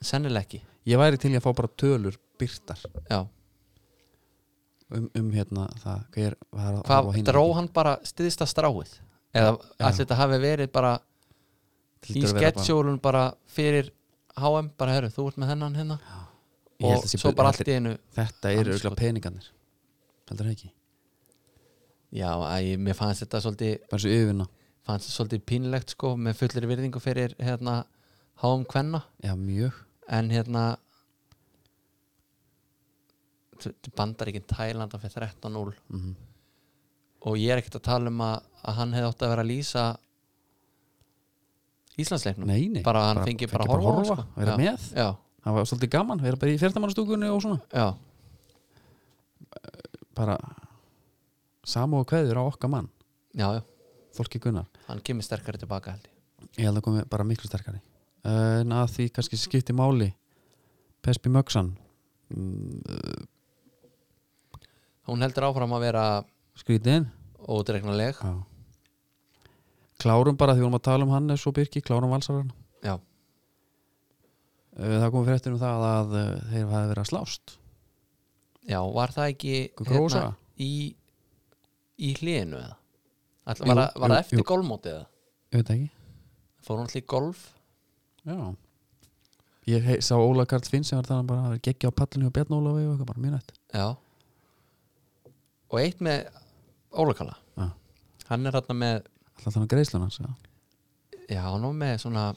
B: sennilega ekki
A: ég væri til í að fá bara tölur byrtar
B: já.
A: um, um hérna það hver var að
B: hvað
A: horfa á hina
B: dró
A: leikinn.
B: hann bara stiðsta stráið eða allir þetta hafi verið bara
A: Hlýtur
B: í
A: að vera bara-
B: sketsjólun bara fyrir HM bara herru, þú ert með hennan hérna
A: Ég held
B: og
A: að sé
B: svo
A: bara-
B: bara
A: þetta
B: allt í einu
A: þetta
B: Hann
A: eru
B: sko-
A: auðvitað peningarnir heldur það ekki,
B: já, æ, mér fannst þetta svolítið
A: bara svo yfirna
B: fannst þetta svolítið pínlegt sko með fullir virðingu fyrir hérna HM kvenna
A: já mjög,
B: en hérna bandar ekki Tælanda fyrir 13-0
A: Mhm.
B: og ég er ekkert að tala um að, að hann hefði átt að vera að lýsa Íslandsleiknum
A: nei nei
B: bara að hann fengi bara
A: að
B: að horfa, á hann,
A: horfa,
B: sko.
A: vera
B: já,
A: með
B: já,
A: það var svolítið gaman, vera bara í fjöldamannastúkunni og svona
B: já,
A: bara samú og kveður á okkar mann
B: já, já,
A: Þorki Gunnar,
B: hann kemur sterkari tilbaka held ég
A: ég held að komi bara miklu sterkari uh, en að því kannski skipti máli Pespi Möksan
B: hún heldur áfram að vera
A: skrítið inn
B: ódreiknuleg
A: Já. klárum bara því við vorum að tala um Hannes og Birki, klárum valsararna
B: já,
A: Uh, það komið fréttir um það að uh, þeir hafi verið að slást
B: já, var það ekki hérna,
A: Einhver grósa?
B: í, í hlíðinu eða
A: Jú,
B: Ætla, var, það- var það
A: jú,
B: eftir
A: jú.
B: golfmótið eða
A: ég veit það ekki
B: fór hún allir í golf
A: Já. ég hei, sá Óla Karl Finn sem var þannig bara að gegja á pallinu og Bjarn Ólafi og eitthvað bara mjög nætt
B: já og eitt með Ólakala
A: Já.
B: hann er þarna með
A: alltaf þannig greiðslun um hans já.
B: já, hann var með svona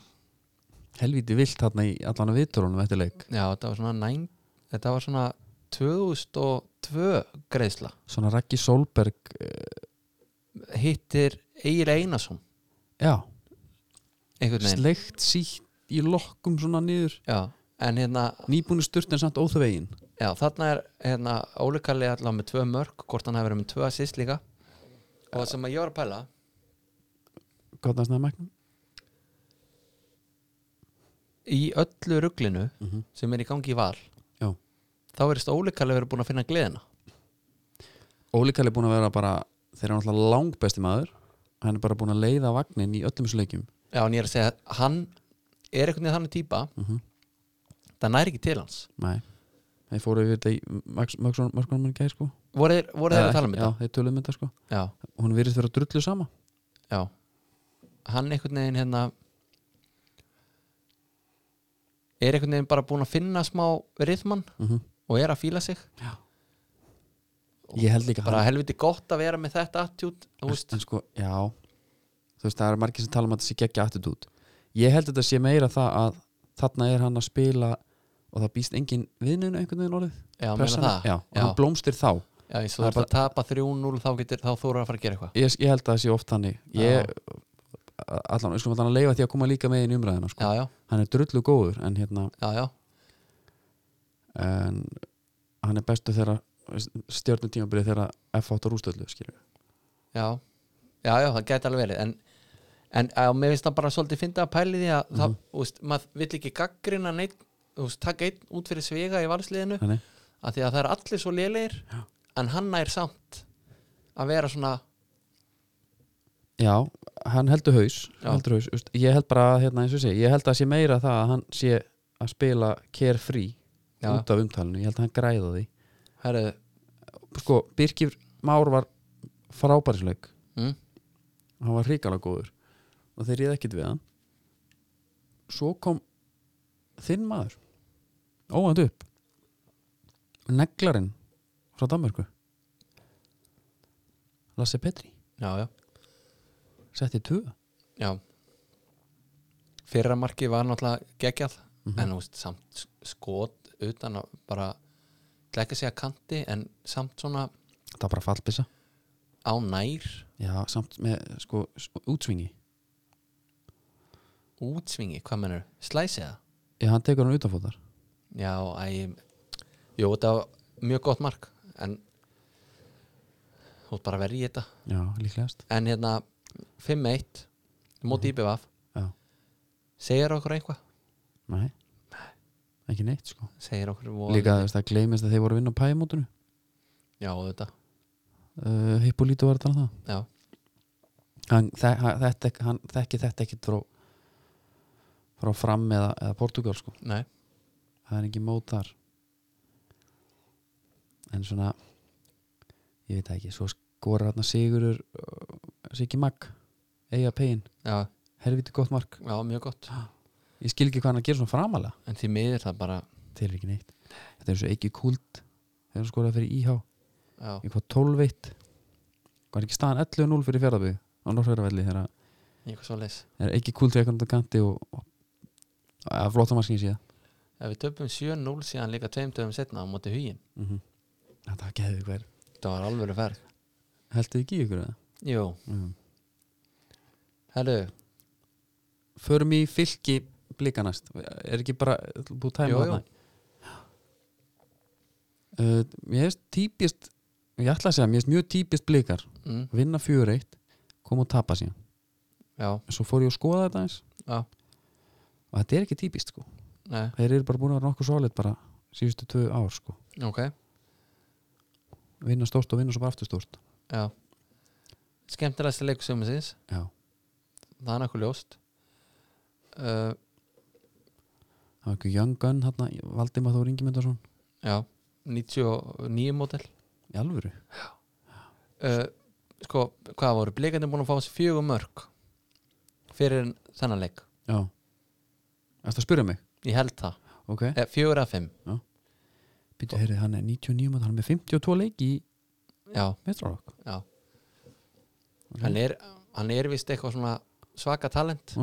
A: helvíti vilt þarna í allan að viðtörunum eftir leik
B: já, þetta var svona næn þetta var svona 2002 greiðsla
A: svona Raggi Solberg uh,
B: hittir Egil Einarsson
A: já,
B: einhvern veginn
A: sleikt sítt í lokkum svona niður
B: já, en hérna
A: nýbúinu sturt en samt óþu vegin
B: Já, þarna er hérna, ólíkalli allavega með tvö mörg hvort hann hefur verið með tvö assist líka og það sem að ég var að pæla
A: gott að snæða mæknum
B: í öllu rugglinu sem er í gangi í val
A: Mhm. Já.
B: þá verðist ólíkalli verið búin að finna gleðina
A: Óli Karl er búin að vera bara þeir eru náttúrulega langbesti maður hann er bara búin að leiða vagnin í öllum þessu leikjum
B: Já, en ég er að segja að hann er einhvern veginn þannig típa
A: Mhm.
B: það næri ekki til hans
A: Nei, þeir fóru yfir þetta í Mörgsson minn gæði sko
B: voru þeir, voru þeir
A: Eða
B: að tala um
A: ekki,
B: þetta?
A: Já, þeir tölum um þetta sko
B: Já,
A: Hún virðist vera drullu sama
B: já hann einhvern veginn hérna er einhvern veginn bara búin að finna smá rithmann
A: Mhm.
B: og er að fíla sig
A: Ég held líka
B: bara
A: hann-
B: helviti gott að vera með þetta attitude þú veist,
A: en, sko, Já, þú veist, það er margir sem tala um að þetta sé geggja attitút Ég held þetta sé meira það að þarna er hann að spila og það býst engin viðnun einhvern veginn orðið
B: já, meina
A: pressan er-
B: það
A: Já, og hann blómstir þá
B: já, eins og
A: Það
B: þú
A: er
B: ert að tapa 3-0 þá, getur- þá þú eru að fara að gera eitthvað
A: Ég, ég held að það sé oft þannig
B: Já.
A: Ég, allan, við skulum allan að leifa því að koma líka með inn í umræðina sko.
B: já, já,
A: Hann er drullu góður en hérna
B: já, já,
A: en hann er bestu þegar stjórnum tímabilið þegar F átt á rústöldu skilur
B: já já, já, það gæti alveg verið en, en á, mér finnst það bara svolítið fyndið að pæli því að
A: Mhm.
B: það, úst, maður vill ekki gaggrina neitt, úst, taka einn út fyrir svega í valsliðinu,
A: Þannig,
B: af því að það er allir svo lélegir, en hann nær samt að vera svona
A: já, hann heldur haus,
B: Já.
A: heldur haus just, ég held bara, að, hérna, eins og sé, ég held að sé meira það að hann sé að spila carefree
B: Já.
A: út af umtalinu, ég held að hann græða því
B: herru,
A: sko, Birkir Már var frábærisleik
B: mm,
A: hann var hrikalega góður og þeir ríða ekkit við hann svo kom þinn maður óvænt upp neglarinn frá Danmörku Lasse Petri
B: já, já,
A: setti tvö
B: já fyrra markið var náttúrulega geggjað en þú veist, samt skot utan að bara ætla ekki að segja kanti en samt svona
A: það var bara fallbissa
B: á nær
A: já, samt með sko s- útsvingi
B: útsvingi, hvað mennur, slæsið það
A: já, hann tekur hann utanfótar
B: já, æ, jú, þetta var mjög gott mark en þú ert bara að verja í þetta
A: já, líklegast
B: en hérna 5-1 móti IBVF
A: já,
B: segir okkur einhvað,
A: nei ekki neitt sko
B: segir okkur voða
A: líka
B: lítið.
A: þú veist, það gleymist að þeir voru að vinna á pæmótinu
B: já, þetta
A: uh, Hippolito var að tala um það
B: já,
A: hann, þe hann, þetta, hann þekki þetta ekkit frá, frá fram eða, eða Portugal sko
B: nei,
A: það er ekki mót þar en svona ég veit það ekki, svo skorar hann Sigurur Siggi Magg eiga pegin,
B: já,
A: helviti gott mark
B: já, mjög gott
A: ég skil ekki hvað hann er að gera svona framalega
B: en því miður það bara
A: til ekki neitt, þetta er svo ekki kúld þegar hann skoraði fyrir IH
B: já,
A: ég hvað 12 veitt var ekki staðan 11-0 fyrir fjárðabíð á Norrhverjavelli þegar að-
B: eitthvað svo leys
A: þegar ekki kúld til eitthvað kanti og, og að flotta markinu síðan
B: ef við töpum 7-0 síðan líka tveim döfum setna á móti hugin,
A: mm -hmm. þetta var geðið hver
B: það var alveg ferð
A: heldur ekki í ykkur það?
B: jú,
A: Mm.
B: herru,
A: förum í fylki blikanast er ekki bara búið tæma
B: Jú, jú.
A: þarna? Uh, mér hefst típist ég ætla að segja, mér hefst mjög típist blikar
B: mm,
A: vinna 4-1, koma og tapa síðan
B: já,
A: svo fór ég að skoða þetta eins
B: já,
A: og þetta er ekki típist sko
B: nei
A: þeir eru bara búin að vera nokkuð solid bara síðustu tvö ár sko
B: ok,
A: vinna stórt og vinna svo bara aftur stórt
B: já skemmtilegsta leikur sumisins
A: já.
B: það er nokkuð ljóst uh,
A: það var ekki Young Gun hérna, Valdimar Þór Ingimundarsson
B: já 99 mótel
A: í alvöru
B: uh, sko, hvað voru, blikandi búin að fá þessi fjögur mörg fyrir þennan leik
A: já Ertu að spyrja mig?
B: ég held það,
A: Ok
B: eh, fjögur að fimm
A: Býtu, heyrið, hann er 99 mann, hann er með 52 leiki í
B: já,
A: mestrarokk
B: já hann er, hann er vist eitthvað svona svaka talent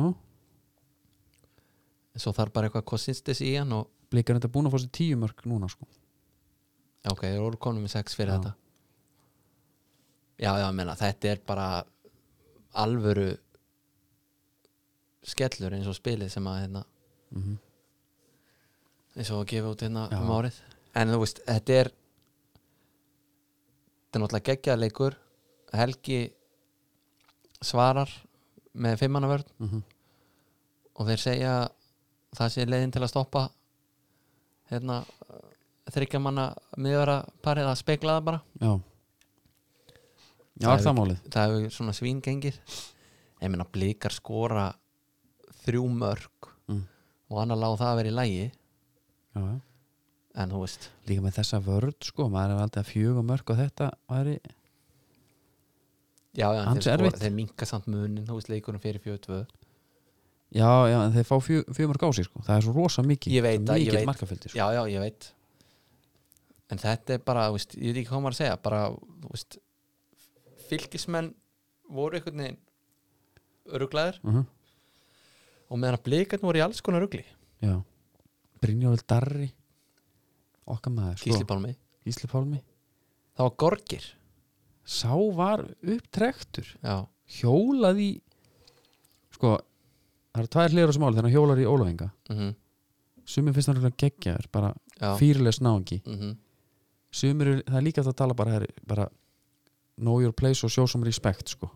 B: svo þarf bara eitthvað konsistens í hann og
A: Blikar þetta búin að fá sér 10 mörg núna sko
B: já, ok, þeir eru konum í sex fyrir
A: Já.
B: þetta já, já, ég meina, þetta er bara alvöru skellur eins og spilið sem að hérna
A: mm -hmm.
B: eins og að gefa út hérna
A: Já.
B: um árið en þú veist, þetta er þetta er náttúrulega geggjað leikur Helgi svarar með fimmannavörn
A: Mm
B: og þeir segja að það sé leiðin til að stoppa hérna þryggja manna miðvara parið að spegla það bara
A: Já Já,
B: Það
A: er
B: er
A: það málið?
B: það hefur svona svíngengið ég meina blikar skora þrjú mörg
A: Mm.
B: og annar lág það að vera í lægi
A: Já, já
B: en þú veist,
A: Líka með þessa vörð sko, maður er aldrei að fjöga mörg og þetta væri
B: já, já, en
A: Hans
B: þeir,
A: erfitt.
B: skora, þeir minka samt munin þú veist leikunum fyrir 42
A: Já, já, en þeir fá fjö, fjömörk á sig sko. það er svo rosa mikið
B: Ég veit
A: Svo
B: það, ég
A: mikið
B: veit.
A: markafjöldi sko.
B: já, já, ég veit en þetta er bara, þú veist, ég veit ekki hvað maður að segja bara, þú veist fylgismenn voru einhvern veginn öruglaðir
A: uh -huh.
B: og meðan að blikarn voru í alls konar rugli
A: já. Brynjóvel Darri okkar maður sko.
B: Gísli Pálmi,
A: Gísli Pálmi
B: það var gorgir
A: sá var upptrektur
B: já,
A: hjólað í sko, það eru tvær hliður á smáli þegar hann hjólar í Ólafinga
B: mhm,
A: sumir finnst hann röglega geggjaður, bara
B: já
A: fyrirlega snáingi
B: mhm,
A: sumir, eru- það er líka hægt að tala bara, her, bara know your place og show some respect sko.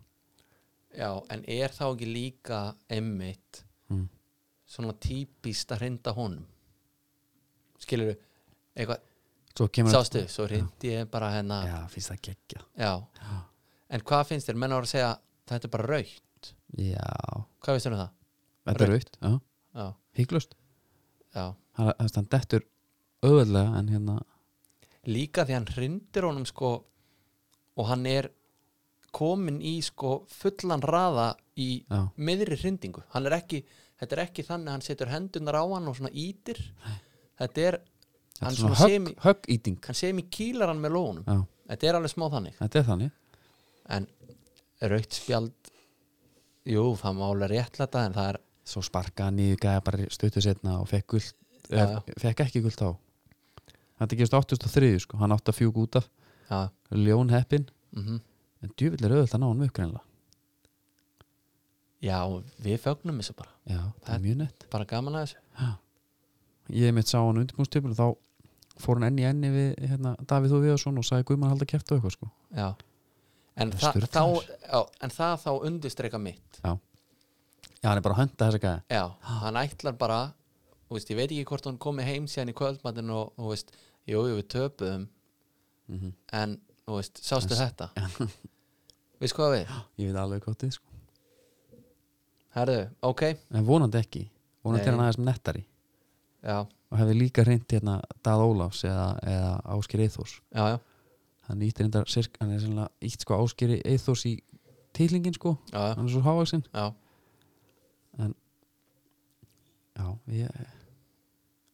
B: já, en er þá ekki líka emmitt
A: Mm.
B: svona típist að hrinda honum skilur eitthvað,
A: svo kemur
B: sástu, svo hrindi ég bara hennar
A: já, finnst það geggja
B: Já. En hvað finnst þér? Menn ára að segja þetta er bara raukt.
A: já,
B: Hvað finnst þér um það?
A: þetta er aukt já,
B: Já,
A: hygglust
B: já.
A: hann hann dettur auðvöldlega en hérna
B: Líka því hann hrindir honum sko og hann er komin í sko fullan raða í
A: já,
B: miðri hrindingu. Hann er ekki, þetta er ekki þannig að hann setur hendunar á hann og svona ítir. Þetta er,
A: þetta
B: hann
A: er svona
B: svona
A: högg,
B: semi-
A: höggýting
B: hann segir mér kýlar hann með lónum.
A: já,
B: Þetta er alveg smá þannig.
A: þetta er þannig
B: En raukt spjald, jú, það má alveg réttlæta en það er,
A: svo sparka hann í gæða bara stuttu setna og fekk, gult,
B: Já,
A: er, fekk ekki gult á þetta gerist 83 sko, hann átti að fjúk út af
B: já,
A: ljón heppin,
B: mhm.
A: en djúvill er auðvöld að ná hann upp greinlega
B: Já, við fögnum þessu bara
A: já, það
B: Það-
A: er mjög nett
B: bara gaman að þessu
A: ég mitt sá hann undirbúinstipul og þá fór hann enni enni við hérna, Davíð og Viðarsson og sagði Guðmann halda kæft og eitthvað sko.
B: Já En,
A: Það
B: það,
A: er
B: þá,
A: sturlaður.
B: já, en það þá undistreika mitt
A: já, hann er bara að hönda þessa gæða
B: Já, hann ætlar bara þú veist, ég veit ekki hvort hann komi heim síðan í kvöldmattin og, og veist, jú, jú, við töpuðum
A: Mhm.
B: en þú veist, sástu þetta við skoðum við,
A: ég veit alveg hvað þið sko
B: herðu, ok
A: en vonandi ekki, vonandi
B: Nei.
A: er hann aðeins nettari
B: já,
A: og hefði líka reynd hérna Dað Ólafs eða, eða Áskir Eithors
B: já, já,
A: hann ítti reyndar, sirk- hann er sannlega ítt sko Áskir Eithors í titlingin sko
B: já, já,
A: hann er svo hávaksinn
B: já.
A: já, ég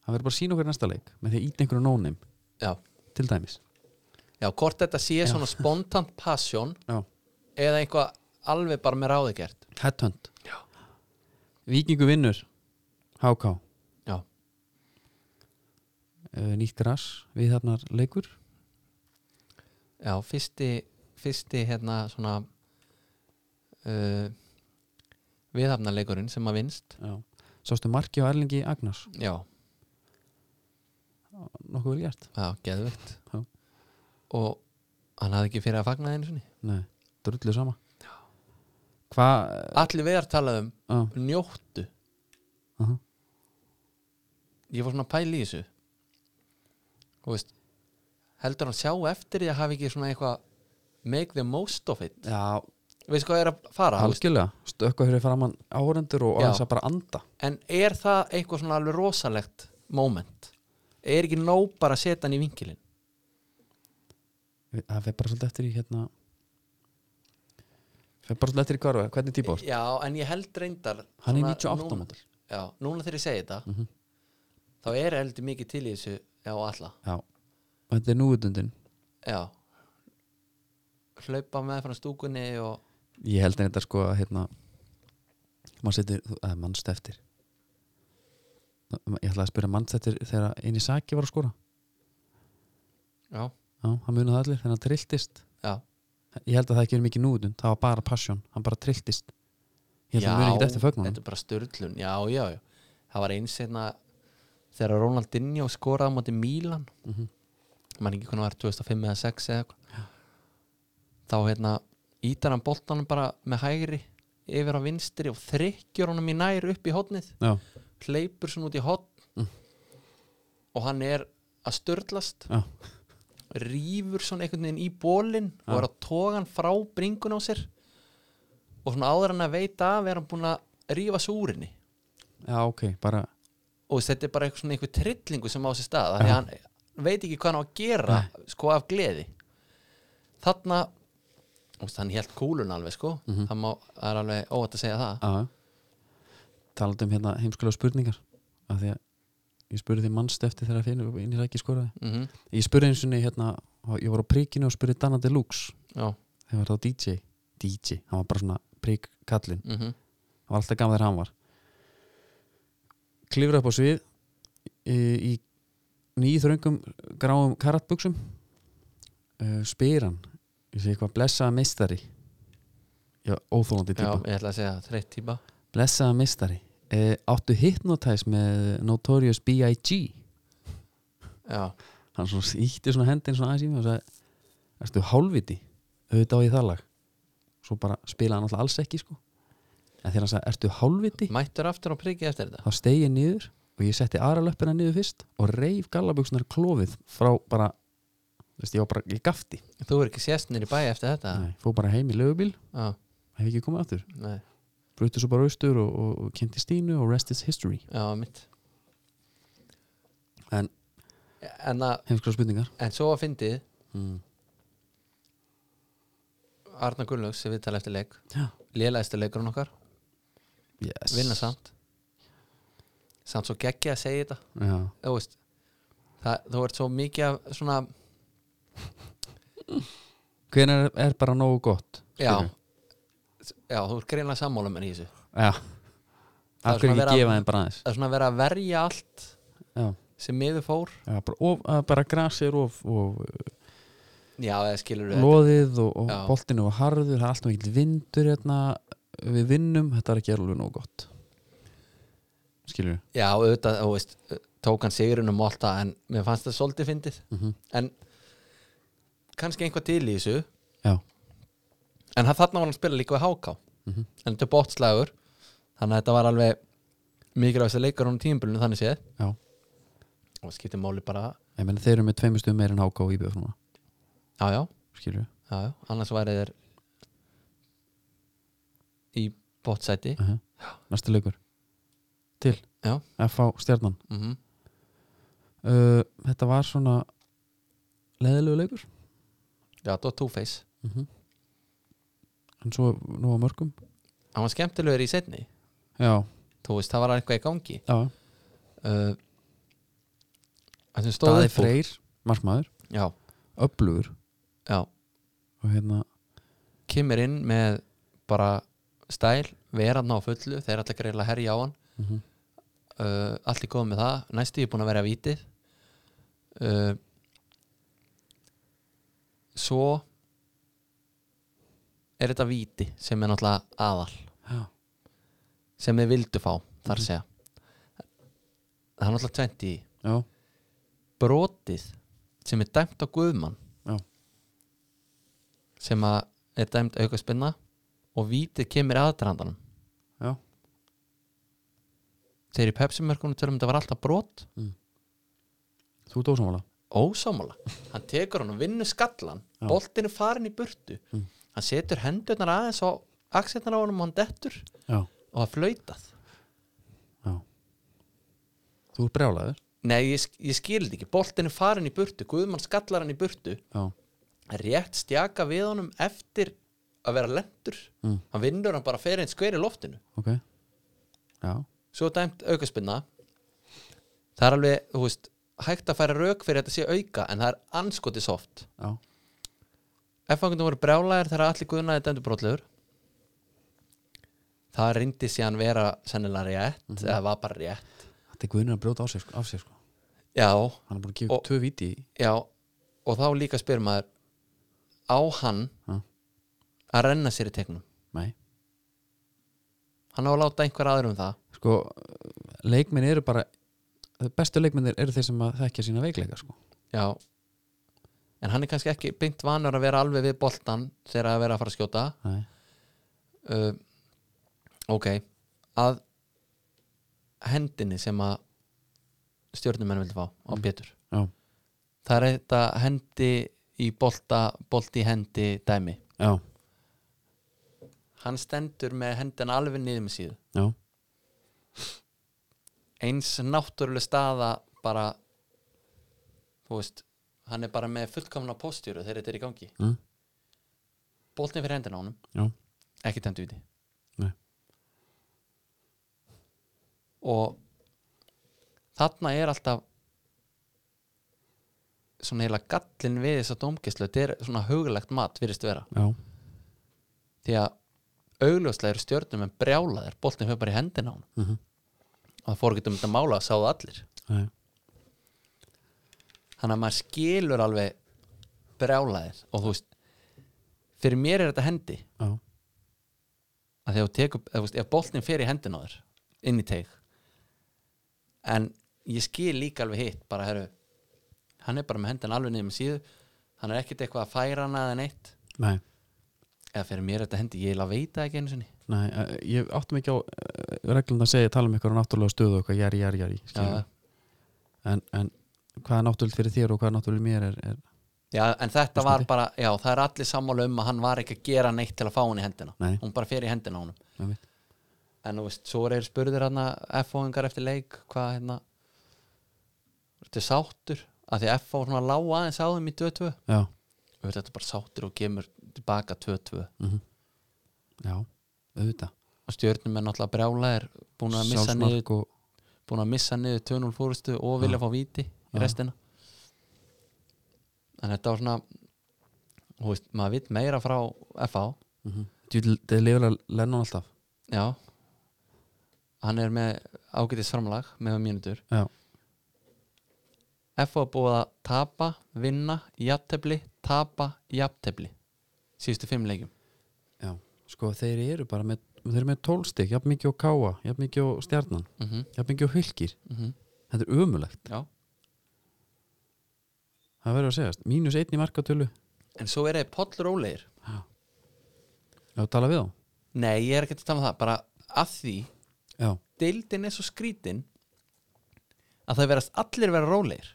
A: hann verður bara að sína okkur í næsta leik með því að íta einhverju nónim
B: já.
A: til dæmis
B: Já, hvort þetta sé svona spontant passion
A: já,
B: eða eitthvað alveg bara með ráði gert
A: headhunt Víkingu vinnur HK,
B: Já,
A: uh, nýtt gras við þarna leikur
B: já, fyrsti fyrsti hérna svona uh, viðhafnarleikurinn sem að vinst
A: já. sástu marki á Erlingi Agnars
B: Já,
A: nokkuð vel gert
B: já, geðvögt
A: Já.
B: og hann hafði ekki fyrir að fagna einu sinni
A: Nei, drullu sama Hvað
B: Allir vegar talaði um
A: uh,
B: njóttu
A: uh,
B: Ég fór svona að pæla í þessu Þú veist heldur hann sjá eftir því að hafi ekki svona eitthvað make the most of it
A: Já,
B: Veist hvað er að fara? þú veist?
A: algjörlega Stökkva fyrir framann áhörendur og
B: Já.
A: aðeins að bara anda
B: En er það eitthvað svona alveg rosalegt moment? Er ekki nóg bara að setja hann í vinkilinn?
A: Það fer bara svolítið eftir í hérna fer bara svolítið eftir í hvar og hvernig típa ást
B: Já, en ég held reyndar
A: Hann er
B: svona
A: 98
B: núna-
A: módel.
B: Já, núna þegar ég segi þetta
A: Mhm.
B: þá er heldur mikið til í þessu já, alla
A: Já, þetta er núutundin
B: já. Hlaupa með frá stúkunni og
A: Ég held þetta sko að hérna mann setir, að mannst eftir Ég ætlaði að spyrja mannst eftir þegar eini saki var að skora
B: já,
A: Já, hann munið það allir, þegar hann trilltist
B: já,
A: Ég held að það ekki er mikið núutund, það var bara passion hann bara trilltist Ég held
B: já
A: að hann munið ekki eftir fögnunum
B: þetta er bara störlun já, já, já, það var eins einna þegar Ronaldinho skoraði á móti Mílan mm
A: Mhm.
B: -hmm. mann ekki hvernig var 2005 eða 6 eða eitthvað þá hérna ítar hann boltanum bara með hægri yfir á vinstri og þrykkjur honum í nær upp í hotnið
A: Já,
B: hleypur svona út í hotn
A: Mm.
B: og hann er að störlast
A: já,
B: rýfur svona einhvern veginn í bólinn og er að toga hann frá bringun á sér og svona áður hann að veita af er hann búin að rýfa svo úr henni
A: já, ok, bara
B: og þetta er bara eitthvað svona einhver trillingu sem á sér stað af því að hann veit ekki hvað hann á að gera sko af gleði þarna þú veist, hann hélt kúlun alveg sko það, má, það er alveg óvægt að segja það
A: já. talandi um hérna heimskulega spurningar af því að ég spurði því mannst eftir þegar að finna inn í rækki skoraði
B: mm
A: ég spurði eins og niður hérna, ég var á prikinu og spurði Dana Deluxe,
B: já,
A: þegar var þá DJ DJ, hann var bara svona prik kallinn,
B: mm
A: hann var alltaf gaman þegar hann var klifra upp á svið í, í nýþröngum gráum karatbuxum uh, spyr hann ég segi eitthvað blessaða meistari já, óþólandi
B: já,
A: típa
B: ég ætla að segja það, þreytt típa
A: Blessaða mistari eh, Áttu hypnotize með Notorious B.I.G
B: já,
A: Hann svona ítti svona hendin svona aðeins í mig og sagði Ertu hálfviti? Auðvitað á ég það lag Svo bara spilaði hann alltaf alls ekki sko En þegar hann sagði Ertu hálfviti?
B: mættur aftur á prikið eftir þetta
A: Þá steig ég niður og ég setti aðra löppina niður fyrst og reif gallabuxnar klófið frá bara þú veist, ég var bara, ég gafti
B: þú er ekki sérst nýri bæi eftir þetta
A: Nei, fór bara heim í lögubíl,
B: já,
A: hef ekki komið aftur
B: nei,
A: brutu svo bara austur og, og, og kynnti Stínu og rest is history
B: já, mitt
A: En-
B: en, að,
A: heimskra spurningar
B: en svo að fyndið
A: mm.
B: Arna Gunnlaugs sem við tala eftir leik
A: Já.
B: lélægstu leikurinn okkar,
A: yes.
B: vinna samt samt svo geggja að segja þetta
A: Já,
B: þú veist það, þú ert svo mikið af svona
A: hvenær er bara nógu gott
B: já,
A: skilurðu?
B: já þú ert greinlega sammála með þessu
A: já.
B: Það
A: af
B: er
A: hverju
B: svona
A: ekki
B: vera-
A: gefa þeim bara aðeins
B: það er svona að vera að verja allt
A: já,
B: sem miður fór
A: já bara, of, að bara grasir of, og
B: já, eða skilur við
A: loðið og, og
B: Já.
A: boltinu og harður, það er allt mikill vindur hérna, við vinnum, þetta er ekki alveg nógu gott skilur við
B: já, auðvitað, þú veist, tók hann sigurinn um alltaf en mér fannst það svolítið fyndið
A: Mhm.
B: en kannski einhvað til í þessu
A: já,
B: en hann- þarna var hann að spila líka við háká en þetta er bótslægur þannig að þetta var alveg mikilvægast að leikar hún tímabölinu þannig séð
A: já,
B: og skiptir máli bara
A: ég meni þeir eru með tveimur stuðum meir en háka og íbjöf núna
B: já, já,
A: skilju
B: já, já, annars værið er í bótsæti
A: uh næsti leikur til,
B: Já.
A: FH stjarnan
B: mm -hmm.
A: uh, þetta var svona leðilegu leikur
B: já, það var two-face
A: mm en svo nú á mörgum
B: hann var skemmtilegur í setni
A: já,
B: þú veist, það var eitthvað í gangi
A: já,
B: uh, það sem stóð
A: staði
B: upp úr
A: freyr markmaður,
B: já,
A: öflugur
B: já,
A: og hérna,
B: kemur inn með bara stæl veran á fullu, þeir ætla greila að herja á hann
A: mm
B: uh, allt er góð með það, næstu ég búin að vera vítið uh, svo er þetta víti sem er náttúrulega aðal
A: já,
B: sem þið vildu fá, þar segja það er náttúrulega 20 í.
A: já
B: brotið sem er dæmt á guðmann
A: Já.
B: sem að er dæmt auka spinna og vítið kemur aðdrandanum
A: Já.
B: þegar í pepsimörkunum tölum þetta var alltaf brot
A: þú ert ósámála
B: ósámála, hann tekur hann og vinnur skallan
A: Já.
B: boltin er farin í burtu
A: Mm.
B: hann setur hendurnar aðeins á aksetnar á honum og hann dettur
A: já,
B: og það er flautað
A: já þú ert brjálaður
B: nei, ég, sk- ég skil þetta ekki, boltin er farin í burtu Guðmann skallar hann í burtu
A: já,
B: rétt stjaka við honum eftir að vera lendur
A: Mm.
B: hann vinnur hann bara fyrir einn skveri loftinu
A: ok já,
B: svo er dæmt aukaspinna það er alveg, þú veist hægt að færa rauk fyrir að þetta sé auka en það er anskoti soft
A: já,
B: F-fangundum voru brjálæðir þegar allir guðnaði dæmdu brotlegur það reyndi síðan vera sennilega rétt, eða var bara rétt
A: þetta er guðnir að brjóta á sér, sko- af sér sko
B: já,
A: hann er búin að gefa
B: Og-
A: og... tvö viti í-
B: já og þá líka spyr maður á hann
A: Já.
B: að renna sér í tegnum
A: nei,
B: hann á að láta einhver aður um það
A: sko leikminn eru bara bestu leikminnir eru þeir sem að þekkja sína veikleika sko
B: já en hann er kannski ekki beint vanur að vera alveg við boltan þegar að vera að fara að skjóta
A: nei,
B: uh, ok að hendinni sem að stjórnumenn vildi fá á mm. Pétur
A: já,
B: það er þetta hendi í bolta bolti í hendi dæmi
A: já,
B: hann stendur með hendina alveg niður með síðu
A: já
B: eins náttúrulega staða bara þú veist hann er bara með fullkomna postjúru þegar þetta er í gangi
A: mm.
B: boltin fyrir hendina á honum
A: Já.
B: ekki dæmt viti
A: Nei.
B: og þarna er alltaf svona heila gallin við þess að dómkislu þetta er svona hugulegt mat virðist vera
A: já,
B: því að augljóslega eru stjörnum en brjálaðir boltin fyrir bara í hendina á honum
A: mhm
B: og það fór ekki um þetta mála að sáðu allir
A: Nei.
B: þannig að maður skilur alveg brjálaðir og þú veist fyrir mér er þetta hendi
A: Já,
B: að þegar þú tekur, eða, þú veist, ef boltin fer í hendina á þér inn í teig en ég skil líka alveg hitt bara, herru, hann er bara með hendina alveg niður með síðu, hann er ekkert eitthvað að færa hana eða neitt,
A: nei,
B: eða fyrir mér er þetta hendi, ég eiginlega veit það ekki einu sinni
A: nei eh, ég áttum ekki á eh, reglum að segja tala um eitthvað náttúrulega stöðu og eitthvað jari, jari, jari skilur.
B: já,
A: en, en hvað er náttúrulega fyrir þér og hvað er náttúrulega mér er, er
B: já, en þetta
A: Mismunandi.
B: var bara, já, það er allir sammála um að hann var ekki að gera neitt til að fá hann í hendina
A: Nei.
B: hún bara fer í hendina á honum
A: Einmitt.
B: en þú veist, svo er spurður hann F-fóðingar eftir leik, hvað hérna þetta er sáttur að því að F-fó svona lág aðeins á þeim í 2-2
A: já,
B: Þú veist, þetta er bara sáttur og kemur tilbaka 2-2
A: mhm. já, auðvitað
B: og stjörnum er náttúrulega brjálæðir búin að missa niður,
A: sjálfsmark og
B: búin að missa niður 2-0 fórustu og vilja fá víti í
A: Já.
B: restina en þetta var svona þú veist, maður vitt meira frá FH,
A: þetta er lifur að lenna alltaf
B: já hann er með ágætis framlag með mínútur
A: já,
B: FH er búið að tapa, vinna, jafntefli tapa, jafntefli síðustu fimm leikjum
A: já, sko þeir eru bara með, þeir eru með tólstig, jafn mikið og káa jafn mikið og stjarnan,
B: mm -hmm,
A: jafn mikið og hulkir
B: mhm.
A: þetta er ömulegt,
B: já
A: það verður að segjast mínus einn í markatölu,
B: en svo er þeir pollur ólegir
A: já, tala við á
B: Nei, ég er ekki að tala um það bara að því,
A: já,
B: deildin er svo skrítin að það verðast allir vera rólegir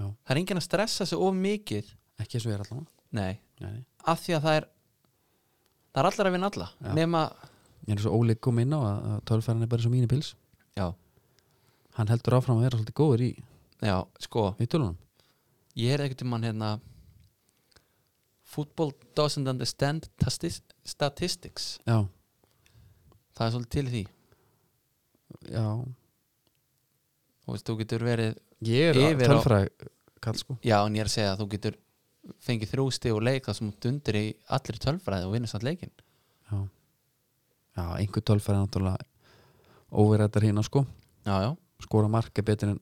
A: Já.
B: það er enginn að stressa sig of mikið
A: ekki eins og ég er allavega
B: nei,
A: Nei, nei.
B: af því að það er það er allar að vinna alla
A: Já.
B: nema,
A: ég er svo óleik kom inn á að, að tölfæran er bara svo mínu pils
B: já,
A: hann heldur áfram að vera svolítið góður í,
B: já, sko
A: í tölunum
B: ég er ekkert um hann hérna football doesn't understand tastis- statistics
A: já,
B: það er svolítið til í því
A: já,
B: og veist, þú getur verið
A: ég er
B: Yfir á-
A: tölfæra kall sko
B: já en ég er að segja að þú getur fengið þrjústi og leik það sem þú dundir í allir tölfræði og vinnur samt leikin
A: já, já einhver tölfæra er náttúrulega óverættar hérna sko
B: já já,
A: skora mark er betur en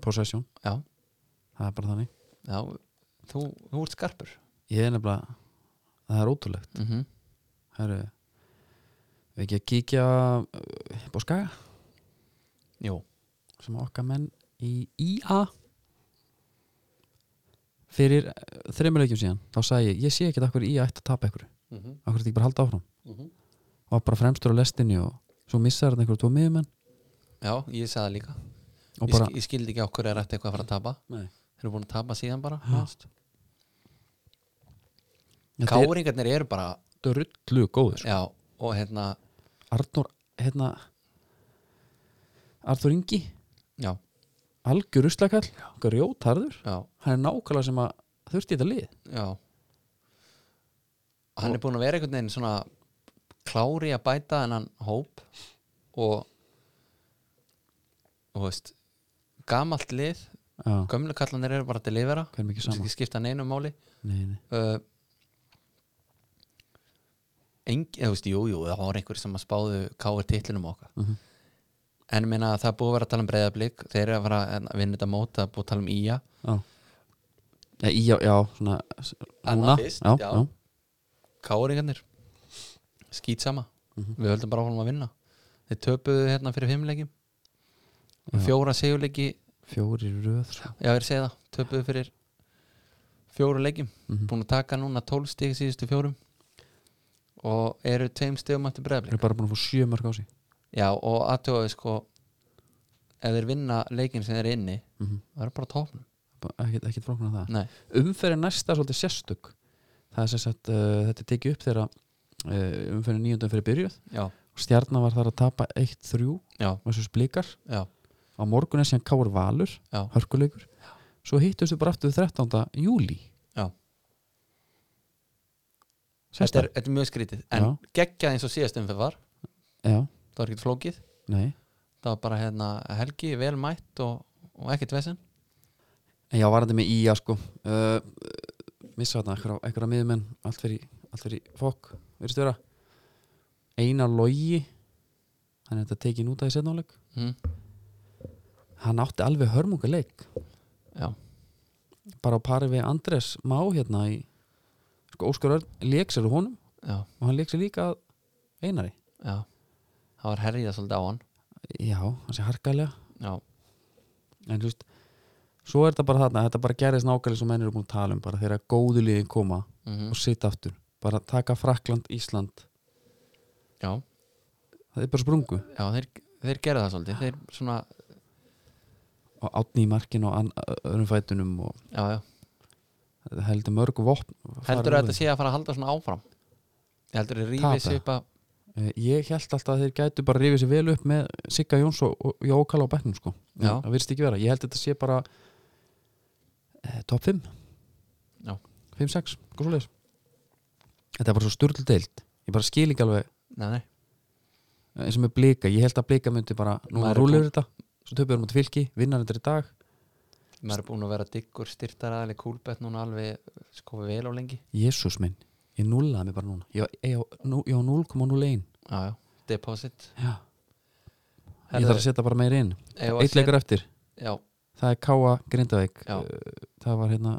A: possession,
B: já,
A: það er bara þannig
B: já þú, þú ert skarpur
A: ég er nefnilega, það er ótrúlegt
B: mm -hmm.
A: Herru, við ekki að kíkja uh, upp á skaga
B: jú,
A: sem okkar menn í IA fyrir eh, þremur leikjum síðan þá sagði ég, ég sé ekki að IA ætti að tapa ykkur mm
B: Mhm.
A: -hmm. akkur þetta ekki bara að halda áfram og bara fremstur á lestinni og svo missar þetta einhverjum tvo miðumenn
B: já ég sagði það líka
A: og
B: ég,
A: bara,
B: sk ég skildi ekki okkur er eftir eitthvað að fara að tapa
A: Nei.
B: þeir eru búin að tapa síðan bara
A: Já.
B: nánast.
A: þetta er
B: káringarnir eru bara
A: drullu góður sko.
B: já, og hérna
A: Arnur, hérna Arnur Ingi
B: já,
A: algjör uslakall, grjótarður
B: já,
A: hann er nákvæmlega sem að þurfti í þetta lið
B: já hann er búin að vera einhvern veginn svona klári að bæta hennan hóp og og veist gamalt lið,
A: já,
B: gömlu kallanir eru bara að delivera,
A: hver mikið
B: þú veist
A: saman
B: ekki skipta neinum máli
A: nei, nei.
B: uh, engi, þú veist, jú, jú það var einhver sem að spáðu káir titlinum okkar
A: Uh
B: en ég meina að það er búið að vera að tala um breyðablík þeir eru að vera að vinna þetta mót það er búið að tala um íja
A: Já Já, í- já, já svona s-
B: Annað
A: núna,
B: fyrst,
A: já,
B: já.
A: já.
B: káringarnir skýt sama
A: Mhm.
B: við höldum bara áfram að vinna þeir töpuðu hérna fyrir fimmleikjum
A: Já.
B: fjóra segjuleiki
A: Fjórir í röð sko.
B: já, ég er að segja það, töpuðu fyrir fjóra leikjum
A: Mhm.
B: búin að taka núna 12 stig síðustu fjórum og eru tveim stigum eftir
A: Þeir eru
B: breyðablík
A: bara búin að fá sjö mörg á sig
B: já, og aðtöfaðu sko ef þeir vinna leikin sem þeir eru inni
A: mm -hmm.
B: það eru bara á topnum
A: Ekkert, ekkert flóknar það
B: Nei.
A: Umferðin næsta er svolítið sérstök Það er sem sagt, uh, þetta er tekið upp þegar uh, umferðin nýjöndum fyrir byrjuð
B: já,
A: og stjarnan var þar að tapa 1-3 og
B: já,
A: þessu blikar
B: já,
A: á morgun er síðan Káur Valur,
B: já,
A: hörkuleikur svo hittust þau bara aftur 13. júli
B: já. Þetta, er,
A: Sérstök
B: þetta er mjög skrítið en
A: Já.
B: geggjað eins og síðast umferð var
A: Já,
B: það var ekkert flókið
A: nei
B: það var bara hérna, helgi, vel mætt og, og ekkert vesen
A: En já, varandi með ía sko uh, Missa þarna einhverja, einhverja miðumenn Allt fyrir, allt fyrir fokk Verðist vera Einar logi Hann er þetta tekin út af því setnáleik
B: mm.
A: Hann átti alveg hörmungaleik
B: já,
A: Bara á pari við Andres Má hérna í Sko Óskar Örn leik sér úr honum
B: já,
A: Og hann leik sér líka að Einari
B: já það var herriða svolítið á hann
A: Já, hann sé harkalega
B: já,
A: En þú veist Svo er þetta bara þarna, þetta bara gerðist nákvæmlega sem menn eru búin að tala um bara þegar góðu liðin koma
B: mm
A: og sita aftur, bara taka Frakland, Ísland
B: já,
A: það er bara sprungu
B: já þeir, þeir gera það svolítið þeir svona,
A: og átni í markin og ann- ö- öðrum fætunum og
B: já, já
A: heldur mörg vopn
B: heldur að þetta sé að fara að halda svona áfram ég heldur að
A: Tapa.
B: rífið sér upp að
A: sé Eh, ég held alltaf að þeir gætu bara rifið sér vel upp með Sigga Jóns og og Jókala á bekknum sko En
B: Já.
A: það virðist ekki vera, ég held að þetta sé bara eh, top 5
B: Já.
A: 5-6, hvað svo leis þetta er bara svo sturl deilt ég bara skil ekki alveg
B: nei, nei,
A: eh, eins og með blika, ég held að blika myndi bara núna
B: Maður er
A: rúlur þetta, svo töpum við um að fylki vinnar þetta í dag,
B: maður er búin að vera diggur styrtaraðli kúlbett núna alveg sko vel á lengi
A: jésús minn ég nullaði mig bara núna, ég, ég, ég, ég, ég á 0,01
B: já, já, deposit
A: Já. Ég þarf að setja bara meir inn
B: Eigum við að
A: Eitt leikur eftir,
B: já,
A: það er Káa Grindavík
B: Já.
A: Uh, Það var hérna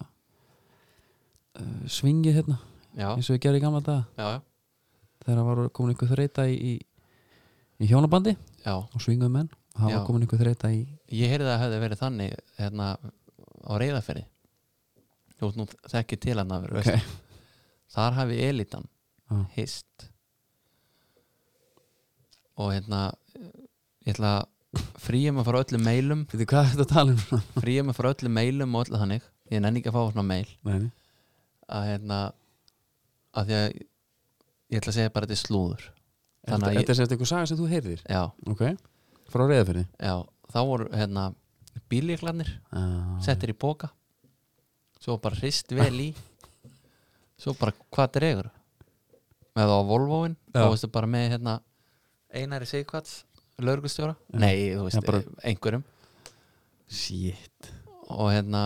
A: uh, Svingið hérna
B: já,
A: eins og ég gerði í gamla daga
B: já, já,
A: Þegar það var komin einhver þreita í, í, í hjónabandi
B: já.
A: og svinguðu menn og það
B: Já.
A: var komin einhver þreita í
B: Ég heyrði að það hefði verið þannig hérna á reyðaferði Þú ert nú þekkið til hann að vera
A: Ok.
B: okay. Þar hafi elitan
A: Já.
B: hist og hérna ég ætla að fríja mig frá öllum meilum
A: Veitir hvað er þetta að tala um?
B: fríja mig frá öllum meilum og öllu þannig ég nenni ekki að fá svona meil
A: Nei, nei.
B: að hérna að því að ég ætla að segja bara að þetta er slúður
A: Þetta
B: Þannig að
A: ég...
B: ég-
A: er eitthvað saga sem þú heyrðir
B: já,
A: Ok, frá reyðafyrði
B: já, þá voru hérna bílíklarnir settir í boka svo bara hrist vel í svo bara hvað dregur með það á Volvoin
A: Já.
B: þá veistu bara með hérna Einari Sigvats, lörgustjóra nei, þú veist,
A: Mm. Já, bara-
B: einhverjum
A: Shit
B: og hérna,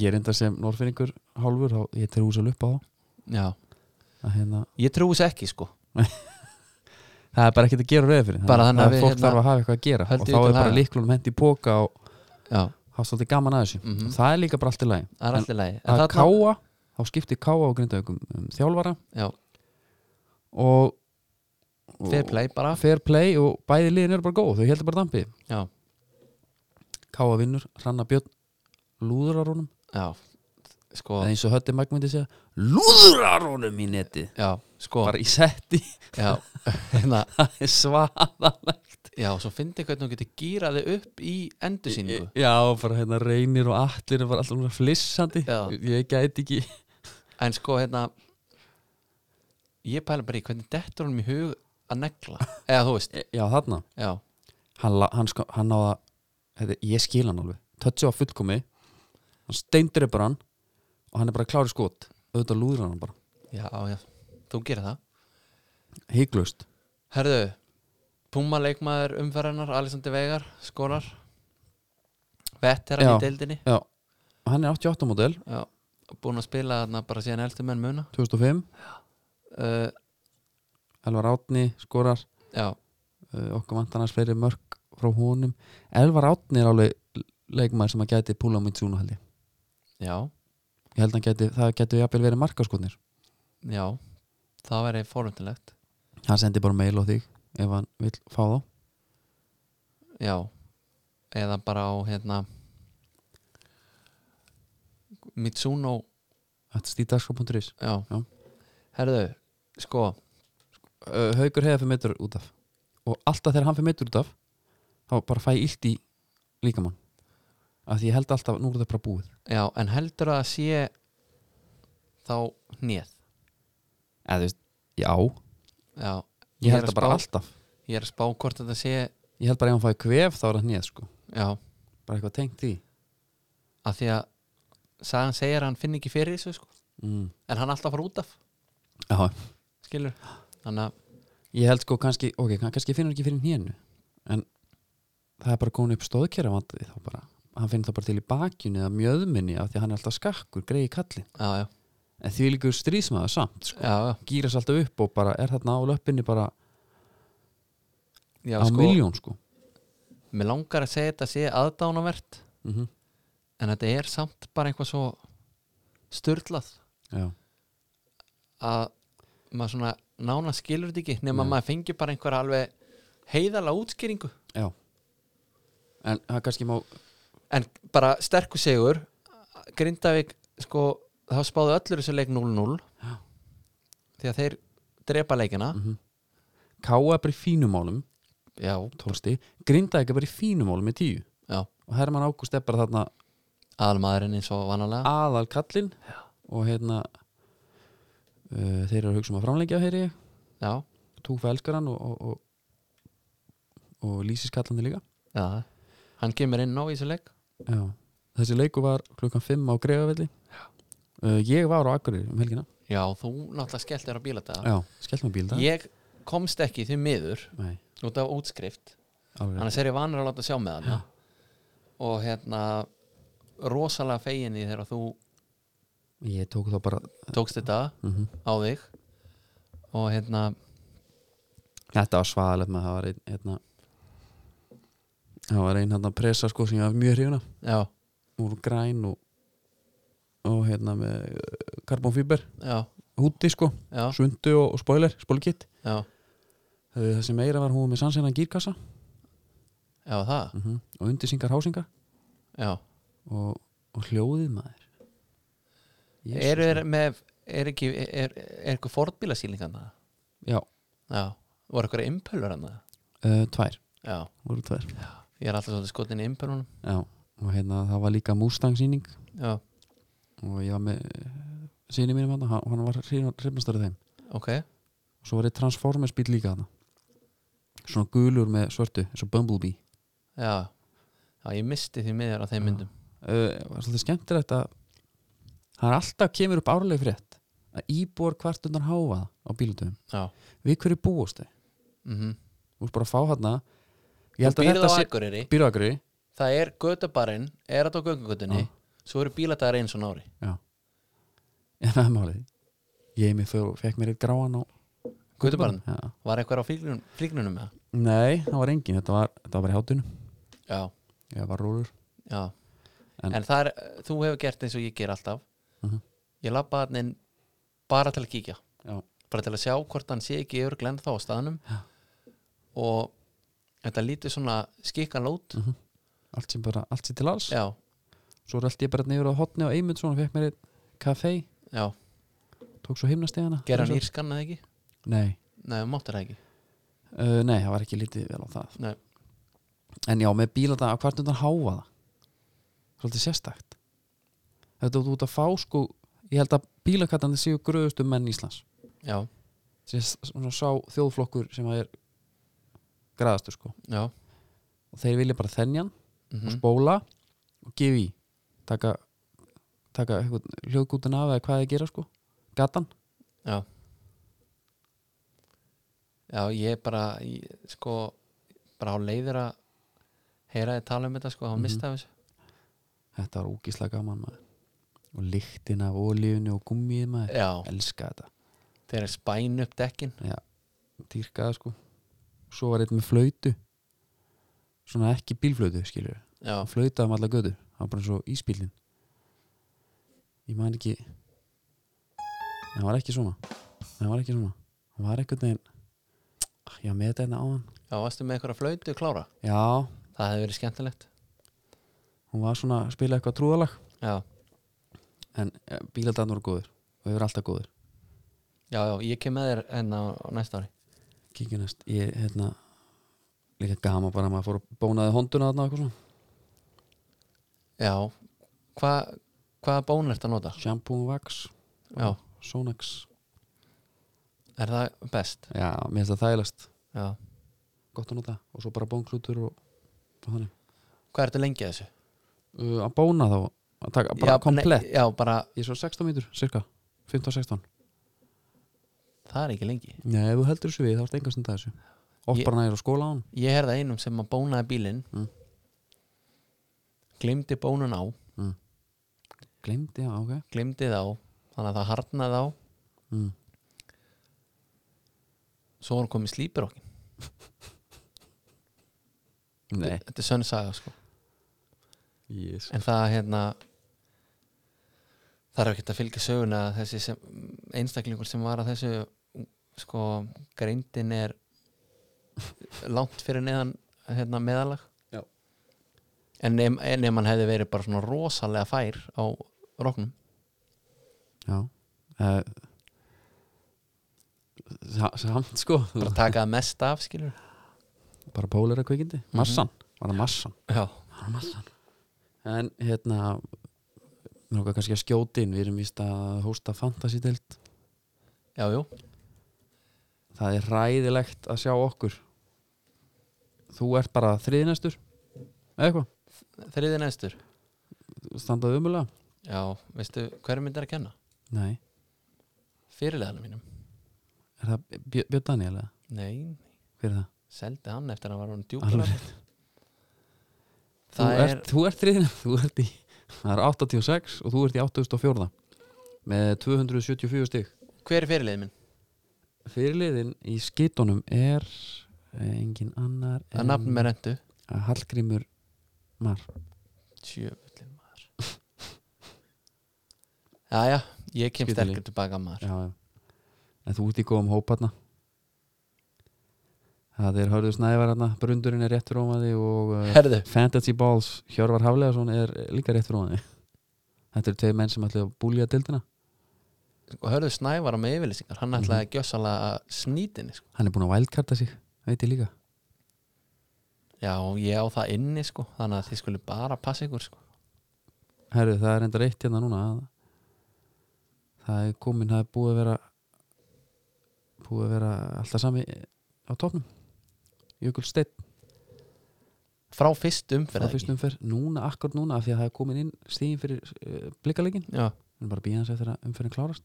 A: Ég er enda sem norfinningur hálfur þá ég trúi svo lupa á það.
B: já,
A: að hérna,
B: ég trúi þess ekki sko
A: það er bara ekkert að gera reyðafyrði
B: Bara þannig að við,
A: fólk
B: hérna, um
A: þarf að hafa eitthvað að gera og
B: höldum
A: þá
B: því
A: er
B: til
A: bara
B: haga.
A: líklunum hendi í póka og
B: já,
A: hafa svolítið gaman að þessu
B: Mhm.
A: það er líka bara allt í lagi
B: það er allir lægi
A: að káa, þá skiptir káa og grindaukum um þjálfara
B: já,
A: og
B: fair play bara
A: fair play og bæði liðin eru bara góð þau heldur bara dampi
B: já,
A: Káa vinnur, Hranna Björn lúðrar honum
B: já, sko
A: eða eins og Hötti Magg myndi segja lúðrar honum í neti
B: já, sko
A: bara í setti,
B: já, hérna,
A: það er svaðalegt
B: já, svo fyndi hvernig hún getur gýraði upp í endursýningu
A: já, bara hérna reynir og allir var alltaf svona flissandi
B: Já.
A: ég gæti ekki
B: En sko hérna Ég pæla bara í hvernig dettur honum í hug að negla Eða þú veist
A: já, þarna,
B: Já,
A: hann, la- hann, sko, hann náða þetta, ég skil hann alveg, tötsi á fullkomi hann steindrepar hann og hann er bara klári skot auðvitað lúðrar hann bara,
B: já, já Þú gerir það
A: hygglust
B: Herðu, Puma leikmaður umferðarnar Alexander Veigar, skorar Veteran
A: Já.
B: í deildinni
A: já, og hann er 88 model
B: Já, búin að spila þarna bara síðan elstu menn muna
A: 2005,
B: uh,
A: Elvar Átni skorar
B: Já,
A: uh, okkur vantar hans fleiri mörg frá honum Elvar Átni er alveg leikmaður sem að gæti púla á Mitsuna held ég
B: já,
A: ég held að hann gæti, það gæti jafnvel verið markaskotnir
B: já Það væri fórhundilegt
A: hann sendi bara mail á þig ef hann vill fá þá
B: Já, eða bara á hérna Mitsuno
A: þetta stíðdagskap.is
B: Já.
A: Já.
B: Herðu, sko
A: uh, Haukur hefði fyrir meitur út af og alltaf þegar hann fyrir meitur út af þá bara fæ ég illt í líkamann af því ég held alltaf nú er þetta bara búið
B: Já, en heldur að sé þá hnið
A: eða þú veist, já,
B: Já,
A: ég
B: er
A: held
B: að
A: það bara
B: spá,
A: alltaf
B: Ég er að spá hvort þetta sé
A: ég held bara ef hann fæði kvef þá er það nýð sko
B: Já,
A: bara eitthvað tengt því
B: að því að sagan segir að hann finn ekki fyrir þessu sko.
A: mm.
B: en hann er alltaf að fara út af,
A: já,
B: skilur Þannig að,
A: Ég held sko kannski, ok, kann- kannski finnur ekki fyrir hénu en það er bara komin upp stóðkjara vandið þá bara hann finnur það bara til í bakjunni eða mjöðminni af því að hann er alltaf skakkur, greiði kallin
B: já, já,
A: en því líkur strísmaður samt sko.
B: já, já,
A: gýras alltaf upp og bara er þarna á löppinni bara
B: já
A: á
B: sko,
A: miljón sko
B: Mér langar að segja þetta sé aðdánavert
A: mm
B: en þetta er samt bara eitthvað svo sturlað
A: Já,
B: að maður svona nána skilur þetta ekki nema maður fengi bara einhver alveg heiðala útskýringu
A: já en það kannski má
B: en bara sterkur sigur Grindavík sko þá spáðu öllur þessu leik 0-0 því að þeir drepa leikina
A: Káa er bara í fínumálum
B: já,
A: tólsti, Grindavík er bara í fínumálum með tíu
B: já,
A: og Herman Ágúst er bara þarna
B: aðalmaðurinn eins og vanalega
A: aðal kallinn og hérna uh, þeir eru að hugsa um að framlengja heyri ég
B: já,
A: Túfa elskar hann og, og, og, og Lísis kallandi líka
B: já, hann kemur inn á í þessu leik
A: Já. þessi leiku var klukkan 5 á greiðavelli uh, ég var á Akureyri um helgina
B: já, þú náttúrulega skellt þér á bílata
A: Já, skellt með bíl
B: ég komst ekki því miður
A: Nei,
B: út af útskrift
A: alveg rétt.
B: annars er ég vanur að láta sjá með hana og hérna rosalega feginni þegar þú
A: ég tók þá bara
B: tókst þetta á þig og hérna
A: þetta var svaðalegt með það var einn hérna, það var einn hérna pressa sko sem ég var mjög hrifuna
B: já,
A: úr græn og, og hérna með karbonfíber
B: já,
A: húti sko,
B: já,
A: sundu og, og spoiler spoilkitt
B: já,
A: Uh, Það sem meira var hún var með sannsegna gírkassa
B: já það
A: mm og undirsingar hásingar
B: já.
A: og, og hljóðið maður Jesus.
B: eru er, með er ekki, er, er eitthvað fordbílasýling hann
A: Já,
B: já, voru eitthvað impölur hann
A: uh, tvær,
B: já,
A: voru tvær
B: ég er alltaf svolítið skotin í impölunum
A: Já, og hérna það var líka Mustang síning
B: já,
A: og ég var með síni mínum hann, hann var hrifnastarið þeim
B: ok,
A: og svo var ég Transformers bíl líka hann svona gulur með svörtu eins og Bumblebee
B: já já, ég misti því miður á þeim myndum
A: uh, var svolítið skemmtilegt að það er alltaf kemur upp árlega frétt að íbúar hvert undan háfa á bílutum
B: já,
A: við hverju búast þau,
B: mhm
A: þú veist bara að fá hann ég
B: Þú
A: held að
B: býrð
A: þetta
B: á
A: sé
B: Akureyri,
A: býrðagri
B: það er götubarinn, er þetta á göngugötunni svo eru bíladagar eins og nári
A: já, en það er málið ég með þau fekk mér eitt gráan á
B: Götubarinn,
A: já.
B: var eitthvað á flíknun, flíknunum með
A: nei, það var engin, þetta var, þetta var bara í hátunum
B: já,
A: ég var rúlur
B: já
A: En-
B: en, það er, þú hefur gert eins og ég ger alltaf
A: Mhm.
B: ég labba hann inn bara til að kíkja
A: já,
B: bara til að sjá hvort hann sé ekki yfir glenn þá á staðanum já. og þetta lítið svona skikkan lót
A: Mhm. allt sem bara, allt sem til alls
B: já,
A: svo rölti ég bara neyður á hotni á Eymund svona, fekk mér eitt kafe,
B: já,
A: tók svo himnastegana
B: gera hann írskan eða ekki
A: nei,
B: nei, þú máttir það ekki
A: Uh, nei, það var ekki lítið vel á það
B: nei.
A: En já, með bíla þetta að hvert undan háfa það Svolítið sérstakt Þetta þú út að fá sko Ég held að bílakattandi séu gröðustu menn Íslands
B: já,
A: Sér svona sá þjóðflokkur sem að er graðastu sko
B: já
A: Og þeir vilja bara þenjan
B: mm
A: og spóla og gefa í Taka, taka hljóðgútin af eða hvað þeir gera sko Gatan
B: Já Já, ég er bara ég, sko, bara á leiðir að heyra þið tala um þetta sko,
A: Mhm.
B: hafa mistað þessu
A: Þetta var úkislega gaman maður Og lyktin af olíunni og gummið maður
B: Já,
A: Elska þetta
B: þeir eru spæn upp dekkin
A: dýrkaða sko svo var einn með flöytu svona ekki bílflöytu skilur
B: Já,
A: hann flautaði um alla götu það var bara eins og ísbílin ég man ekki en hann var ekki svona Nei, hann var ekki svona hann var einhvern veginn Ah, ég var með þetta hérna áðan
B: já, varstu með eitthvað flöytu klára
A: já,
B: Það hefði verið skemmtilegt
A: hún var svona að spila eitthvað trúðalag
B: Já,
A: en eh, bílaldarnir voru góðir og hefur alltaf góðir
B: já, já, ég kem með þér enn á, á næsta ári
A: kíkja næst ég hérna líka gama bara að maður fór að bónaði honduna þarna og eitthvað svona
B: Já, hva, hvaða bón ert að nota?
A: shampoo og wax
B: Já,
A: Sonax
B: er það best?
A: já, mér finnst það þægilegst
B: Já,
A: gott að nota og svo bara bónklutur og, og þannig
B: hvað ertu lengi að þessu?
A: uh, að bóna þá, að taka bara
B: já,
A: komplett
B: nei, Já, bara,
A: ég er svo 16 mínútur, cirka 15-16
B: það er ekki lengi
A: Nei, ef þú heldur þessu við, þá ertu enga stund að þessu oft
B: Ég-
A: bara nægir á skóla á hann
B: ég herði að einum sem að bónaði bílinn
A: Mm.
B: glimti bónun á
A: gleymdi, já, ok
B: glimti þá, þannig að það harnaði á
A: mm.
B: svo var hann komið slípir okkur
A: Nei,
B: þetta er sönnsaga sko
A: yes.
B: en það hérna það er ekkert að fylgja söguna að þessi sem, einstaklingur sem var að þessu sko greindin er langt fyrir neðan hérna, meðalag
A: Já.
B: en ef en ef hann hefði verið bara svona rosalega fær á roknum
A: já uh, sa- samt sko þú
B: bara
A: veist,
B: takaði mest af skilur
A: bara pólera kvikindi,
B: Mhm.
A: massan var það massan
B: já,
A: en hérna mér okkar kannski að skjóti inn, við erum víst að hósta fantasy-deild
B: já, jú
A: það er ræðilegt að sjá okkur þú ert bara þriðinestur eða eitthvað,
B: þriði næstur
A: standað umulega
B: já, veistu hver mynd er að kenna?
A: nei,
B: fyrirleðanum mínum
A: er það Björ- Björn Daniel eða,
B: nei,
A: hver er það?
B: seldi hann eftir að hann var hann
A: Alveg
B: djúpar
A: rétt. Þú
B: það er,
A: ert, þú ert þriðinestur þú ert í, það er 86 og þú ert í 8004 með 274 stig
B: hver er fyrirleðin minn?
A: fyrirliðin í skitunum er eh, engin annar
B: það er nafnum með rentu
A: Hallgrímur Mar
B: tjöfullin maður já, já, ég kem
A: Skítali.
B: sterkur tilbaka maður
A: já, já. en þú ert í góðum hóparna það er Hörður Snævar hana, Brundurinn er rétt rómaði og uh,
B: herðu,
A: Fantasy Balls Hjörvar Hafleðarsson er líka rétt rómaði þetta eru tvei menn sem ætlaði að búlja dildina
B: og hörðu Snævar á með yfirlýsingar hann
A: Mhm.
B: ætlaði að gjössalega að snýtinni sko.
A: hann er búin að wildcarta sig, veit ég líka
B: já, og ég á það inni sko þannig að þið skulle bara passa ykkur sko.
A: Herðu, það er enda reitt hérna núna að það er komin, það er búið að vera búið að vera alltaf sami á topnum Jökul Steinn
B: frá fyrst
A: frá
B: umferð
A: fyrstum fyrr, núna, akkur núna af því að það er komin inn stíðin fyrir uh, blikalegin
B: Já,
A: en bara býða hans eftir að umferðin klárast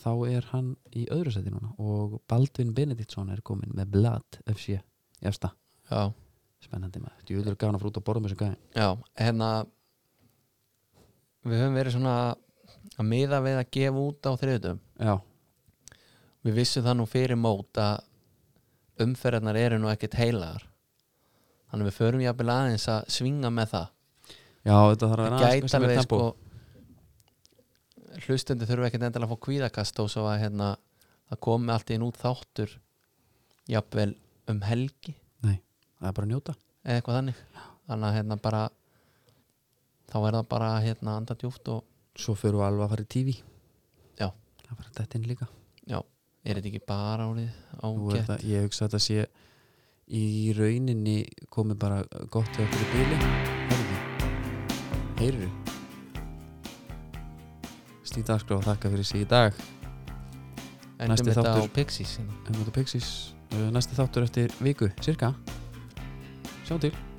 A: þá er hann í öðru seti núna og Baldvin Benediktsson er komin með Blad FC efsta,
B: já,
A: spennandi maður djúður gafna frá út að borða með þessu gæði
B: já hérna við höfum verið svona að miða við að gefa út á þriðutum
A: já,
B: við vissum það nú fyrir mót að umferðarnar eru nú ekkert heilagar þannig við förum jafnvel aðeins að svinga með það
A: já, þetta þarf að
B: það
A: vera aðeins
B: gæti
A: meira
B: alveg
A: tempó.
B: sko hlustendur þurfum ekkert endilega að fá kvíðakast og svo að hérna það komi allt í einu út þáttur jafnvel um helgi
A: Nei, það er bara að njóta
B: eða eitthvað þannig þannig að hérna bara þá er það bara hérna anda djúft og
A: svo fyrir við alveg að fara í TV
B: Já.
A: það var þetta inn líka
B: já, er þetta ekki bara árið
A: Nú er
B: ágætt
A: það, ég hugsa að þetta sé í rauninni komið bara gott hjá okkur í bíli heyrðu heyrðu Stíð Dagskrá, þakka fyrir sig í dag
B: endum
A: næsti
B: þetta á
A: þáttur.
B: Pixies hérna.
A: uh, Hefum þetta Pixis næsti þáttur eftir viku, cirka Sjá til